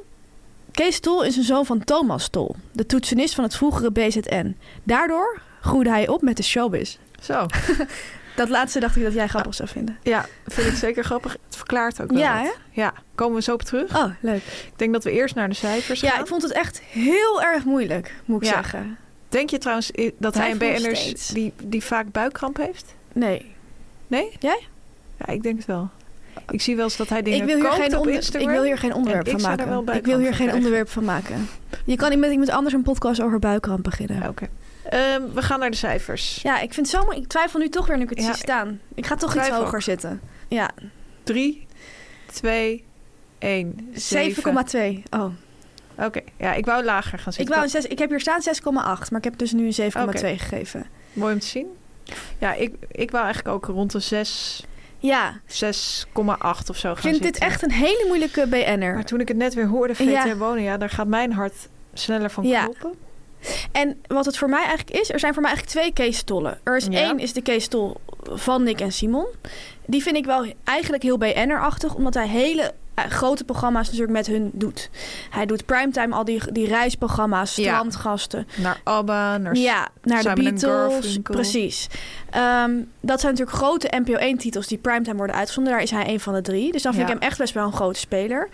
[SPEAKER 5] Kees Tol is een zoon van Thomas Tol, de toetsenist van het vroegere BZN. Daardoor groeide hij op met de showbiz.
[SPEAKER 4] Zo.
[SPEAKER 5] Dat laatste dacht ik dat jij grappig zou vinden.
[SPEAKER 4] Ja, vind ik zeker grappig. Het verklaart ook wel
[SPEAKER 5] Ja,
[SPEAKER 4] wat.
[SPEAKER 5] hè?
[SPEAKER 4] Ja, komen we zo op terug.
[SPEAKER 5] Oh, leuk.
[SPEAKER 4] Ik denk dat we eerst naar de cijfers
[SPEAKER 5] Ja,
[SPEAKER 4] gaan.
[SPEAKER 5] ik vond het echt heel erg moeilijk, moet ik
[SPEAKER 4] Ja.
[SPEAKER 5] zeggen.
[SPEAKER 4] Denk je trouwens i- dat hij een
[SPEAKER 5] Twijfel nog
[SPEAKER 4] BN'ers
[SPEAKER 5] steeds.
[SPEAKER 4] die, die vaak buikkramp heeft?
[SPEAKER 5] Nee,
[SPEAKER 4] Nee?
[SPEAKER 5] Jij?
[SPEAKER 4] Ja, ik denk het wel. Ik zie wel eens dat hij dingen
[SPEAKER 5] ik wil, hier
[SPEAKER 4] koopt
[SPEAKER 5] geen
[SPEAKER 4] op
[SPEAKER 5] onder-
[SPEAKER 4] Instagram.
[SPEAKER 5] ik wil hier geen onderwerp
[SPEAKER 4] ik
[SPEAKER 5] van
[SPEAKER 4] zou daar wel
[SPEAKER 5] maken. Ik
[SPEAKER 4] buikkramp
[SPEAKER 5] wil hier
[SPEAKER 4] van
[SPEAKER 5] geen
[SPEAKER 4] krijgen.
[SPEAKER 5] onderwerp van maken. Je kan niet met iemand anders een podcast over buikkramp
[SPEAKER 4] Ja,
[SPEAKER 5] beginnen.
[SPEAKER 4] Oké. Ehm, we gaan naar de cijfers.
[SPEAKER 5] Ja, ik vind het zo mooi. Ik twijfel nu toch weer nu ik het
[SPEAKER 4] Ja,
[SPEAKER 5] zie staan. Ik ga toch
[SPEAKER 4] twijfel
[SPEAKER 5] iets
[SPEAKER 4] ook.
[SPEAKER 5] hoger zitten. Ja,
[SPEAKER 4] 3, 2, 1,
[SPEAKER 5] 7,2.
[SPEAKER 4] 7. Oké,
[SPEAKER 5] Oh.
[SPEAKER 4] ja, ik wou lager gaan
[SPEAKER 5] Ik,
[SPEAKER 4] zitten.
[SPEAKER 5] wou een zes, ik heb hier staan 6,8, maar ik heb dus nu een 7,2
[SPEAKER 4] Oké.
[SPEAKER 5] gegeven.
[SPEAKER 4] Mooi om te zien. Ja, ik, ik wou eigenlijk ook rond de 6.
[SPEAKER 5] Ja,
[SPEAKER 4] 6,8 of zo gaan
[SPEAKER 5] ik vind dit
[SPEAKER 4] zitten.
[SPEAKER 5] echt een hele moeilijke BN'er.
[SPEAKER 4] Maar toen ik het net weer hoorde, VT
[SPEAKER 5] Ja.
[SPEAKER 4] wonen, ja, daar gaat mijn hart sneller van
[SPEAKER 5] Ja.
[SPEAKER 4] kloppen.
[SPEAKER 5] En wat het voor mij eigenlijk is, er zijn voor mij eigenlijk twee Kees Tollen. Er is
[SPEAKER 4] Ja.
[SPEAKER 5] één is de Kees Tol van Nick en Simon. Die vind ik wel eigenlijk heel BN'er-achtig, omdat hij hele eh, grote programma's natuurlijk met hun doet. Hij doet primetime al die, die reisprogramma's,
[SPEAKER 4] Ja.
[SPEAKER 5] strandgasten.
[SPEAKER 4] Naar ABBA, naar
[SPEAKER 5] Ja, naar de
[SPEAKER 4] Simon en
[SPEAKER 5] Beatles.
[SPEAKER 4] Garfunkel.
[SPEAKER 5] Precies. Ehm, dat zijn natuurlijk grote NPO1-titels die primetime worden uitgezonden. Daar is hij een van de drie. Dus dan vind
[SPEAKER 4] Ja.
[SPEAKER 5] ik hem echt best wel een grote speler.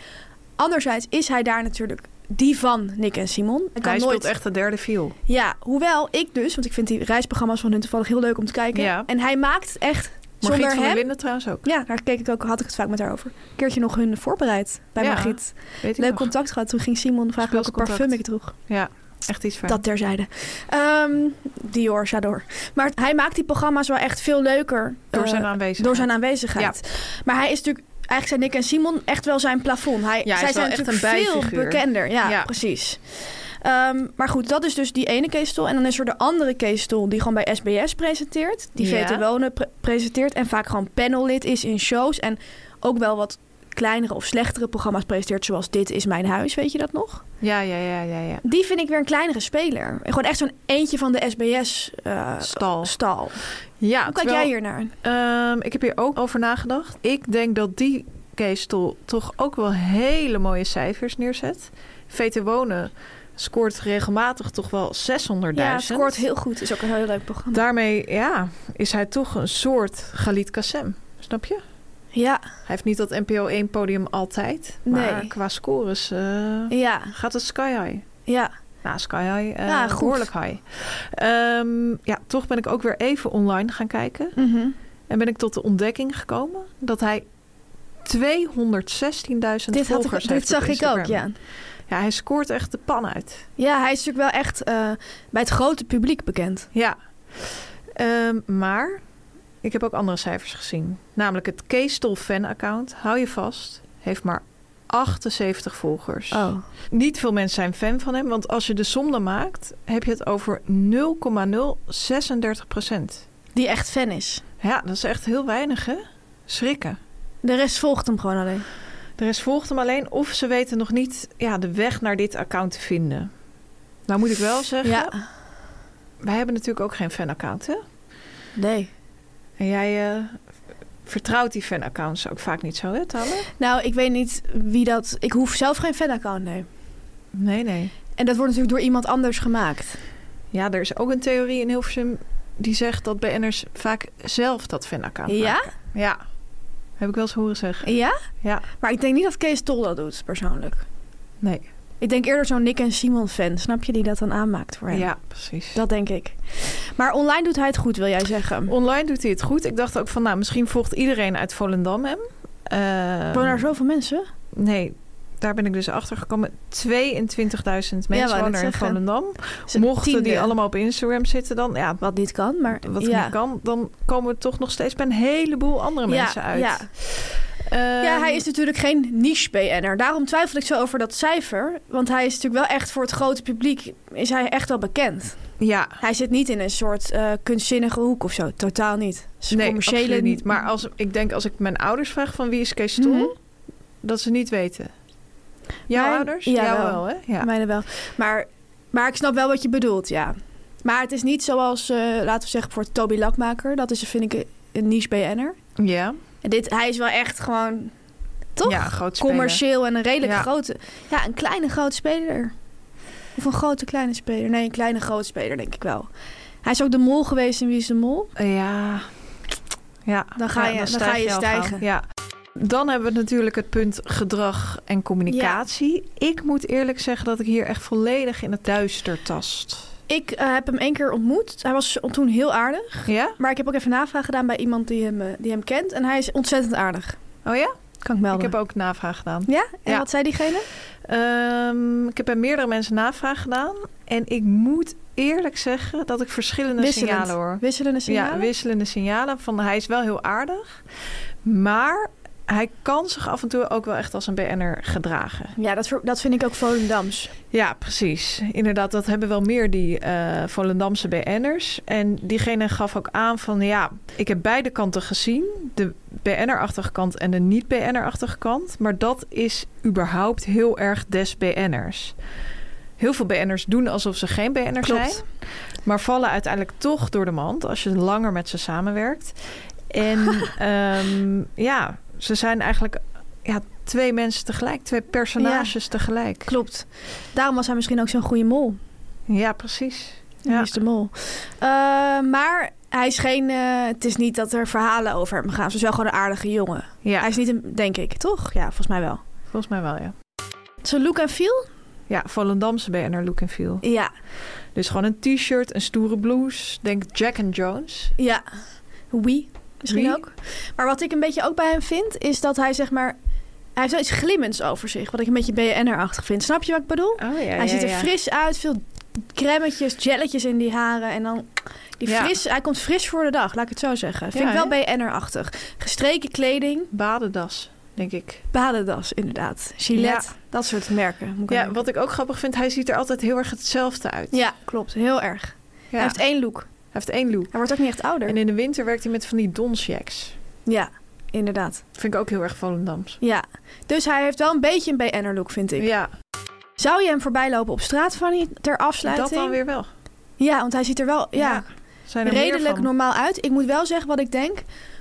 [SPEAKER 5] Anderzijds is hij daar natuurlijk die van Nick en Simon. Hij kan
[SPEAKER 4] Hij
[SPEAKER 5] nooit...
[SPEAKER 4] speelt echt de derde viel.
[SPEAKER 5] Ja, hoewel ik dus, want ik vind die reisprogramma's van hun toevallig heel leuk om te kijken.
[SPEAKER 4] Ja.
[SPEAKER 5] En hij maakt echt
[SPEAKER 4] Margriet
[SPEAKER 5] zonder
[SPEAKER 4] van der
[SPEAKER 5] hem...
[SPEAKER 4] Linden trouwens ook.
[SPEAKER 5] Ja, daar keek ik ook, had ik het vaak met haar over. Een keertje nog hun voorbereid bij
[SPEAKER 4] Ja,
[SPEAKER 5] Margriet.
[SPEAKER 4] Weet ik
[SPEAKER 5] Leuk
[SPEAKER 4] nog.
[SPEAKER 5] contact gehad. Toen ging Simon vragen welke
[SPEAKER 4] Speelscontact.
[SPEAKER 5] parfum ik droeg.
[SPEAKER 4] Ja, echt iets van.
[SPEAKER 5] Dat terzijde. Ehm, Dior, J'adore. Maar hij maakt die programma's wel echt veel leuker.
[SPEAKER 4] door zijn
[SPEAKER 5] eh,
[SPEAKER 4] aanwezigheid.
[SPEAKER 5] door zijn aanwezigheid. Maar hij is natuurlijk... Eigenlijk zijn Nick en Simon echt wel zijn plafond. Hij,
[SPEAKER 4] hij is
[SPEAKER 5] zij
[SPEAKER 4] wel
[SPEAKER 5] zijn
[SPEAKER 4] echt
[SPEAKER 5] natuurlijk
[SPEAKER 4] een
[SPEAKER 5] veel
[SPEAKER 4] bijfiguur.
[SPEAKER 5] bekender. Ja,
[SPEAKER 4] Ja.
[SPEAKER 5] precies. Ehm, maar goed, dat is dus die ene keestel. En dan is er de andere keestel die gewoon bij SBS presenteert. Die
[SPEAKER 4] Ja.
[SPEAKER 5] VT Wonen pre- presenteert. En vaak gewoon panellid is in shows. En ook wel wat kleinere of slechtere programma's presenteert. Zoals Dit is Mijn Huis, weet je dat nog?
[SPEAKER 4] Ja, ja, ja, ja, ja.
[SPEAKER 5] Die vind ik weer een kleinere speler. Gewoon echt zo'n eentje van de SBS-stal.
[SPEAKER 4] Stal. Ja,
[SPEAKER 5] eh, Hoe kijk
[SPEAKER 4] terwijl,
[SPEAKER 5] jij hiernaar?
[SPEAKER 4] ehm, ik heb hier ook over nagedacht. Ik denk dat die keestel toch ook wel hele mooie cijfers neerzet. VT Wonen E scoort regelmatig toch wel 600.000.
[SPEAKER 5] Ja, scoort heel goed. Is ook een heel leuk programma.
[SPEAKER 4] Daarmee ja, is hij toch een soort Galit Kassem. Snap je?
[SPEAKER 5] ja,
[SPEAKER 4] Hij heeft niet dat NPO 1-podium altijd. Maar
[SPEAKER 5] Nee.
[SPEAKER 4] qua scores eh,
[SPEAKER 5] ja,
[SPEAKER 4] gaat het sky high.
[SPEAKER 5] ja.
[SPEAKER 4] Nou, sky high, eh,
[SPEAKER 5] Ja, goed.
[SPEAKER 4] behoorlijk high. Ehm, ja, toch ben ik ook weer even online gaan kijken.
[SPEAKER 5] Mhm.
[SPEAKER 4] En ben ik tot de ontdekking gekomen dat hij 216.000
[SPEAKER 5] Dit, had ik-
[SPEAKER 4] volgers
[SPEAKER 5] dit
[SPEAKER 4] heeft
[SPEAKER 5] zag
[SPEAKER 4] op
[SPEAKER 5] ik ook,
[SPEAKER 4] Instagram.
[SPEAKER 5] ja.
[SPEAKER 4] Ja, hij scoort echt de pan uit.
[SPEAKER 5] Ja, hij is natuurlijk wel echt eh, bij het grote publiek bekend.
[SPEAKER 4] Ja. Ehm, maar ik heb ook andere cijfers gezien. Namelijk het Keestol fan-account, hou je vast, heeft maar 78 volgers.
[SPEAKER 5] Oh.
[SPEAKER 4] Niet veel mensen zijn fan van hem, want als je de som dan maakt, heb je het over 0,036 procent.
[SPEAKER 5] Die echt fan is.
[SPEAKER 4] Ja, dat is echt heel weinig, hè? Schrikken.
[SPEAKER 5] De rest volgt hem gewoon alleen.
[SPEAKER 4] De rest volgt hem alleen of ze weten nog niet ja, de weg naar dit account te vinden. Nou moet ik wel zeggen,
[SPEAKER 5] Ja,
[SPEAKER 4] wij hebben natuurlijk ook geen fan-account, hè?
[SPEAKER 5] nee.
[SPEAKER 4] En jij eh, vertrouwt die fanaccounts ook vaak niet zo, hè, Talle?
[SPEAKER 5] Nou, ik weet niet wie dat... Ik hoef zelf geen fanaccount, nee.
[SPEAKER 4] Nee, nee.
[SPEAKER 5] En dat wordt natuurlijk door iemand anders gemaakt.
[SPEAKER 4] Ja, er is ook een theorie in Hilversum die zegt dat BN'ers vaak zelf dat fanaccount
[SPEAKER 5] Ja?
[SPEAKER 4] maken. Ja. Heb ik wel eens horen zeggen.
[SPEAKER 5] Ja?
[SPEAKER 4] Ja.
[SPEAKER 5] Maar ik denk niet dat Kees Tol dat doet, persoonlijk.
[SPEAKER 4] Nee.
[SPEAKER 5] Ik denk eerder zo'n Nick en Simon fan, snap je, die dat dan aanmaakt voor hem.
[SPEAKER 4] Ja, precies.
[SPEAKER 5] Dat denk ik. Maar online doet hij het goed, wil jij zeggen.
[SPEAKER 4] Online doet hij het goed. Ik dacht ook van, nou, misschien volgt iedereen uit Volendam hem. Eh,
[SPEAKER 5] Wonen er zoveel mensen?
[SPEAKER 4] Nee, daar ben ik dus achter gekomen. 22.000 mensen
[SPEAKER 5] wou
[SPEAKER 4] wonen
[SPEAKER 5] net
[SPEAKER 4] er in
[SPEAKER 5] zeggen.
[SPEAKER 4] Volendam.
[SPEAKER 5] Is een
[SPEAKER 4] Mochten
[SPEAKER 5] tiende.
[SPEAKER 4] die allemaal op Instagram zitten, dan ja,
[SPEAKER 5] Wat niet kan, maar...
[SPEAKER 4] wat
[SPEAKER 5] ja.
[SPEAKER 4] niet kan, dan komen we toch nog steeds bij een heleboel andere
[SPEAKER 5] Ja,
[SPEAKER 4] mensen uit.
[SPEAKER 5] Ja.
[SPEAKER 4] Ehm,
[SPEAKER 5] ja, hij is natuurlijk geen niche-BN'er. Daarom twijfel ik zo over dat cijfer. Want hij is natuurlijk wel echt voor het grote publiek... is hij echt wel bekend.
[SPEAKER 4] ja.
[SPEAKER 5] Hij zit niet in een soort eh, kunstzinnige hoek of zo. Totaal niet. Dus
[SPEAKER 4] Nee,
[SPEAKER 5] commerciële...
[SPEAKER 4] absoluut niet. Maar als, ik denk als ik mijn ouders vraag van wie is Kees Stol,
[SPEAKER 5] Mhm.
[SPEAKER 4] dat ze niet weten. Jouw
[SPEAKER 5] Mijn-
[SPEAKER 4] ouders?
[SPEAKER 5] ja,
[SPEAKER 4] Jou
[SPEAKER 5] wel.
[SPEAKER 4] wel, hè? Ja.
[SPEAKER 5] Mijne wel. Maar, maar ik snap wel wat je bedoelt, ja. Maar het is niet zoals, eh, laten we zeggen, voor Toby Lakmaker. Dat is, vind ik, een- een niche-BN'er.
[SPEAKER 4] ja.
[SPEAKER 5] En Dit, hij is wel echt gewoon... Toch?
[SPEAKER 4] Ja, groot speler.
[SPEAKER 5] commercieel en een redelijk
[SPEAKER 4] Ja.
[SPEAKER 5] grote. Ja, een kleine grote speler. Of een grote kleine speler. Nee, een kleine grote speler, denk ik wel. Hij is ook de mol geweest in Wie is de Mol.
[SPEAKER 4] Ja. Ja.
[SPEAKER 5] Dan ga
[SPEAKER 4] Ja,
[SPEAKER 5] je- dan
[SPEAKER 4] stijg
[SPEAKER 5] ga je
[SPEAKER 4] al gauw.
[SPEAKER 5] stijgen.
[SPEAKER 4] Ja. Dan hebben we natuurlijk het punt gedrag en communicatie. Ik moet eerlijk zeggen dat ik hier echt volledig in het duister tast.
[SPEAKER 5] Ik eh, heb hem één keer ontmoet. Hij was toen heel aardig.
[SPEAKER 4] Ja?
[SPEAKER 5] Maar ik heb ook even navraag gedaan bij iemand die hem, eh, die hem kent. En hij is ontzettend aardig.
[SPEAKER 4] Oh ja?
[SPEAKER 5] Kan ik melden.
[SPEAKER 4] Ik heb ook navraag gedaan.
[SPEAKER 5] Ja? En
[SPEAKER 4] Ja.
[SPEAKER 5] wat zei diegene?
[SPEAKER 4] Ehm, ik heb bij meerdere mensen navraag gedaan. En ik moet eerlijk zeggen dat ik verschillende
[SPEAKER 5] Wisselend.
[SPEAKER 4] signalen hoor.
[SPEAKER 5] Wisselende signalen?
[SPEAKER 4] Ja, wisselende signalen. Van hij is wel heel aardig. Maar hij kan zich af en toe ook wel echt als een BN'er gedragen.
[SPEAKER 5] Ja, dat, ver- dat vind ik ook Volendams.
[SPEAKER 4] Ja, precies. Inderdaad, dat hebben wel meer die eh Volendamse BN'ers. En diegene gaf ook aan van ja, ik heb beide kanten gezien. De BN'er-achtige kant en de niet-BN'er-achtige kant. Maar dat is überhaupt heel erg des BN'ers. Heel veel BN'ers doen alsof ze geen BN'er zijn.
[SPEAKER 5] Klopt.
[SPEAKER 4] Maar vallen uiteindelijk toch door de mand als je langer met ze samenwerkt. En ehm, ja, ze zijn eigenlijk ja, twee mensen tegelijk. Twee personages tegelijk.
[SPEAKER 5] Klopt. Daarom was hij misschien ook zo'n goede mol.
[SPEAKER 4] Ja, precies.
[SPEAKER 5] Ja.
[SPEAKER 4] Ja.
[SPEAKER 5] is de mol. Eh, maar hij is geen, eh, het is niet dat er verhalen over hem gaan. Ze is wel gewoon een aardige jongen.
[SPEAKER 4] Ja,
[SPEAKER 5] Hij is niet een, denk ik, toch? Ja, volgens mij wel.
[SPEAKER 4] volgens mij wel, ja.
[SPEAKER 5] Zijn look en feel?
[SPEAKER 4] Ja, Volendamse BNR look and feel.
[SPEAKER 5] Ja,
[SPEAKER 4] Dus gewoon een t-shirt, een stoere blouse. Denk Jack and Jones.
[SPEAKER 5] ja. Wie? Misschien
[SPEAKER 4] Wie?
[SPEAKER 5] ook. Maar wat ik een beetje ook bij hem vind, is dat hij zeg maar... Hij heeft wel iets glimmends over zich, wat ik een beetje BNR-achtig vind. Snap je wat ik bedoel?
[SPEAKER 4] Oh ja,
[SPEAKER 5] hij ziet er fris uit, veel cremmetjes, jelletjes in die haren. En dan die
[SPEAKER 4] Ja.
[SPEAKER 5] fris, hij komt fris voor de dag, laat ik het zo zeggen. Vind
[SPEAKER 4] Ja,
[SPEAKER 5] ik wel BNR-achtig. Gestreken kleding,
[SPEAKER 4] Badendas, denk ik.
[SPEAKER 5] badendas inderdaad. Gillette,
[SPEAKER 4] Ja.
[SPEAKER 5] dat soort merken. Moet ik
[SPEAKER 4] Ja,
[SPEAKER 5] aan
[SPEAKER 4] wat ik ook grappig vind, hij ziet er altijd heel erg hetzelfde uit.
[SPEAKER 5] denken. ja, klopt. Heel erg.
[SPEAKER 4] Ja.
[SPEAKER 5] Hij heeft één look.
[SPEAKER 4] hij heeft één look.
[SPEAKER 5] Hij wordt ook niet echt ouder.
[SPEAKER 4] En in de winter werkt hij met van die donsjacks.
[SPEAKER 5] Ja, inderdaad.
[SPEAKER 4] Vind ik ook heel erg Volendams.
[SPEAKER 5] Ja. Dus hij heeft wel een beetje een BN'er look, vind ik.
[SPEAKER 4] Ja,
[SPEAKER 5] Zou je hem voorbij lopen op straat, Fanny, ter afsluiting?
[SPEAKER 4] dat dan weer wel.
[SPEAKER 5] Ja, want hij ziet er wel ja,
[SPEAKER 4] Zijn er meer
[SPEAKER 5] redelijk
[SPEAKER 4] van.
[SPEAKER 5] normaal uit. Ik moet wel zeggen wat ik denk.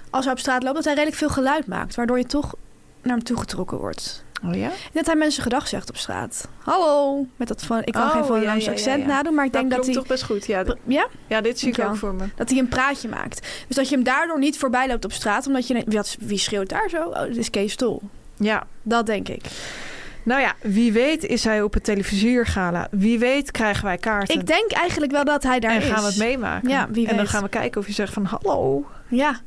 [SPEAKER 5] Als hij op straat loopt, dat hij redelijk veel geluid maakt. Waardoor je toch naar hem toe getrokken wordt.
[SPEAKER 4] Oh ja?
[SPEAKER 5] En dat hij mensen gedag zegt op straat. Hallo. Met dat van, ik kan
[SPEAKER 4] Oh,
[SPEAKER 5] geen
[SPEAKER 4] ja,
[SPEAKER 5] Volendamse
[SPEAKER 4] ja, ja,
[SPEAKER 5] accent
[SPEAKER 4] ja.
[SPEAKER 5] nadoen, maar ik
[SPEAKER 4] dat
[SPEAKER 5] denk dat
[SPEAKER 4] klonk
[SPEAKER 5] hij...
[SPEAKER 4] toch best goed. Ja, d-
[SPEAKER 5] Ja?
[SPEAKER 4] ja dit zie ik
[SPEAKER 5] Dankjewel.
[SPEAKER 4] ook voor me.
[SPEAKER 5] Dat hij een praatje maakt. Dus dat je hem daardoor niet voorbij loopt op straat. Omdat je denkt, wat- wie schreeuwt daar zo? Oh, dit is Kees Tol.
[SPEAKER 4] Ja,
[SPEAKER 5] Dat denk ik.
[SPEAKER 4] Nou ja, wie weet is hij op het televisiergala. Wie weet krijgen wij kaarten.
[SPEAKER 5] Ik denk eigenlijk wel dat hij daar
[SPEAKER 4] en
[SPEAKER 5] is.
[SPEAKER 4] gaan we het meemaken.
[SPEAKER 5] Ja, wie
[SPEAKER 4] en dan
[SPEAKER 5] weet.
[SPEAKER 4] gaan we kijken of je zegt van hallo.
[SPEAKER 5] Ja,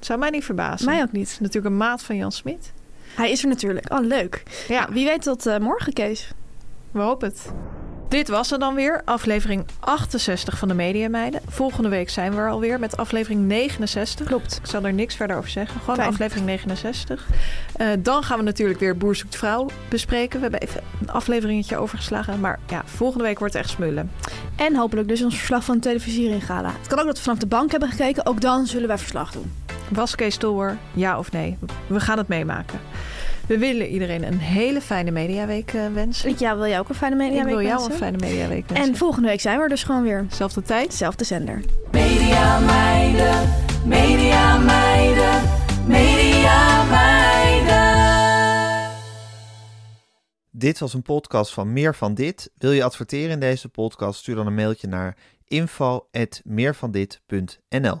[SPEAKER 4] Zou mij niet verbazen.
[SPEAKER 5] mij
[SPEAKER 4] Het
[SPEAKER 5] ook niet.
[SPEAKER 4] is natuurlijk een maat van Jan Smit.
[SPEAKER 5] Hij is er natuurlijk. Oh, leuk.
[SPEAKER 4] Ja,
[SPEAKER 5] Wie weet tot eh, morgen, Kees.
[SPEAKER 4] we hopen het. Dit was er dan weer, aflevering 68 van de Media Meiden. Volgende week zijn we er alweer met aflevering 69.
[SPEAKER 5] Klopt.
[SPEAKER 4] Ik zal er niks verder over zeggen. Gewoon
[SPEAKER 5] Fijn.
[SPEAKER 4] aflevering 69. Eh, dan gaan we natuurlijk weer Boer zoekt vrouw bespreken. We hebben even een afleveringetje overgeslagen. Maar ja, volgende week wordt het echt smullen.
[SPEAKER 5] En hopelijk dus ons verslag van de televisieringala. Het kan ook dat we vanaf de bank hebben gekeken. Ook dan zullen wij verslag doen.
[SPEAKER 4] Was Kees Tolwer, ja of nee? We gaan het meemaken. We willen iedereen een hele fijne mediaweek eh, wensen.
[SPEAKER 5] Ik ja, wil jij ook een fijne media
[SPEAKER 4] Ik wil jou
[SPEAKER 5] wensen?
[SPEAKER 4] een fijne mediaweek wensen.
[SPEAKER 5] En volgende week zijn we er dus gewoon weer.
[SPEAKER 4] Zelfde tijd.
[SPEAKER 5] Zelfde zender.
[SPEAKER 6] Media meiden, media meiden, media meiden.
[SPEAKER 7] Dit was een podcast van Meer van Dit. Wil je adverteren in deze podcast? Stuur dan een mailtje naar info.meervandit.nl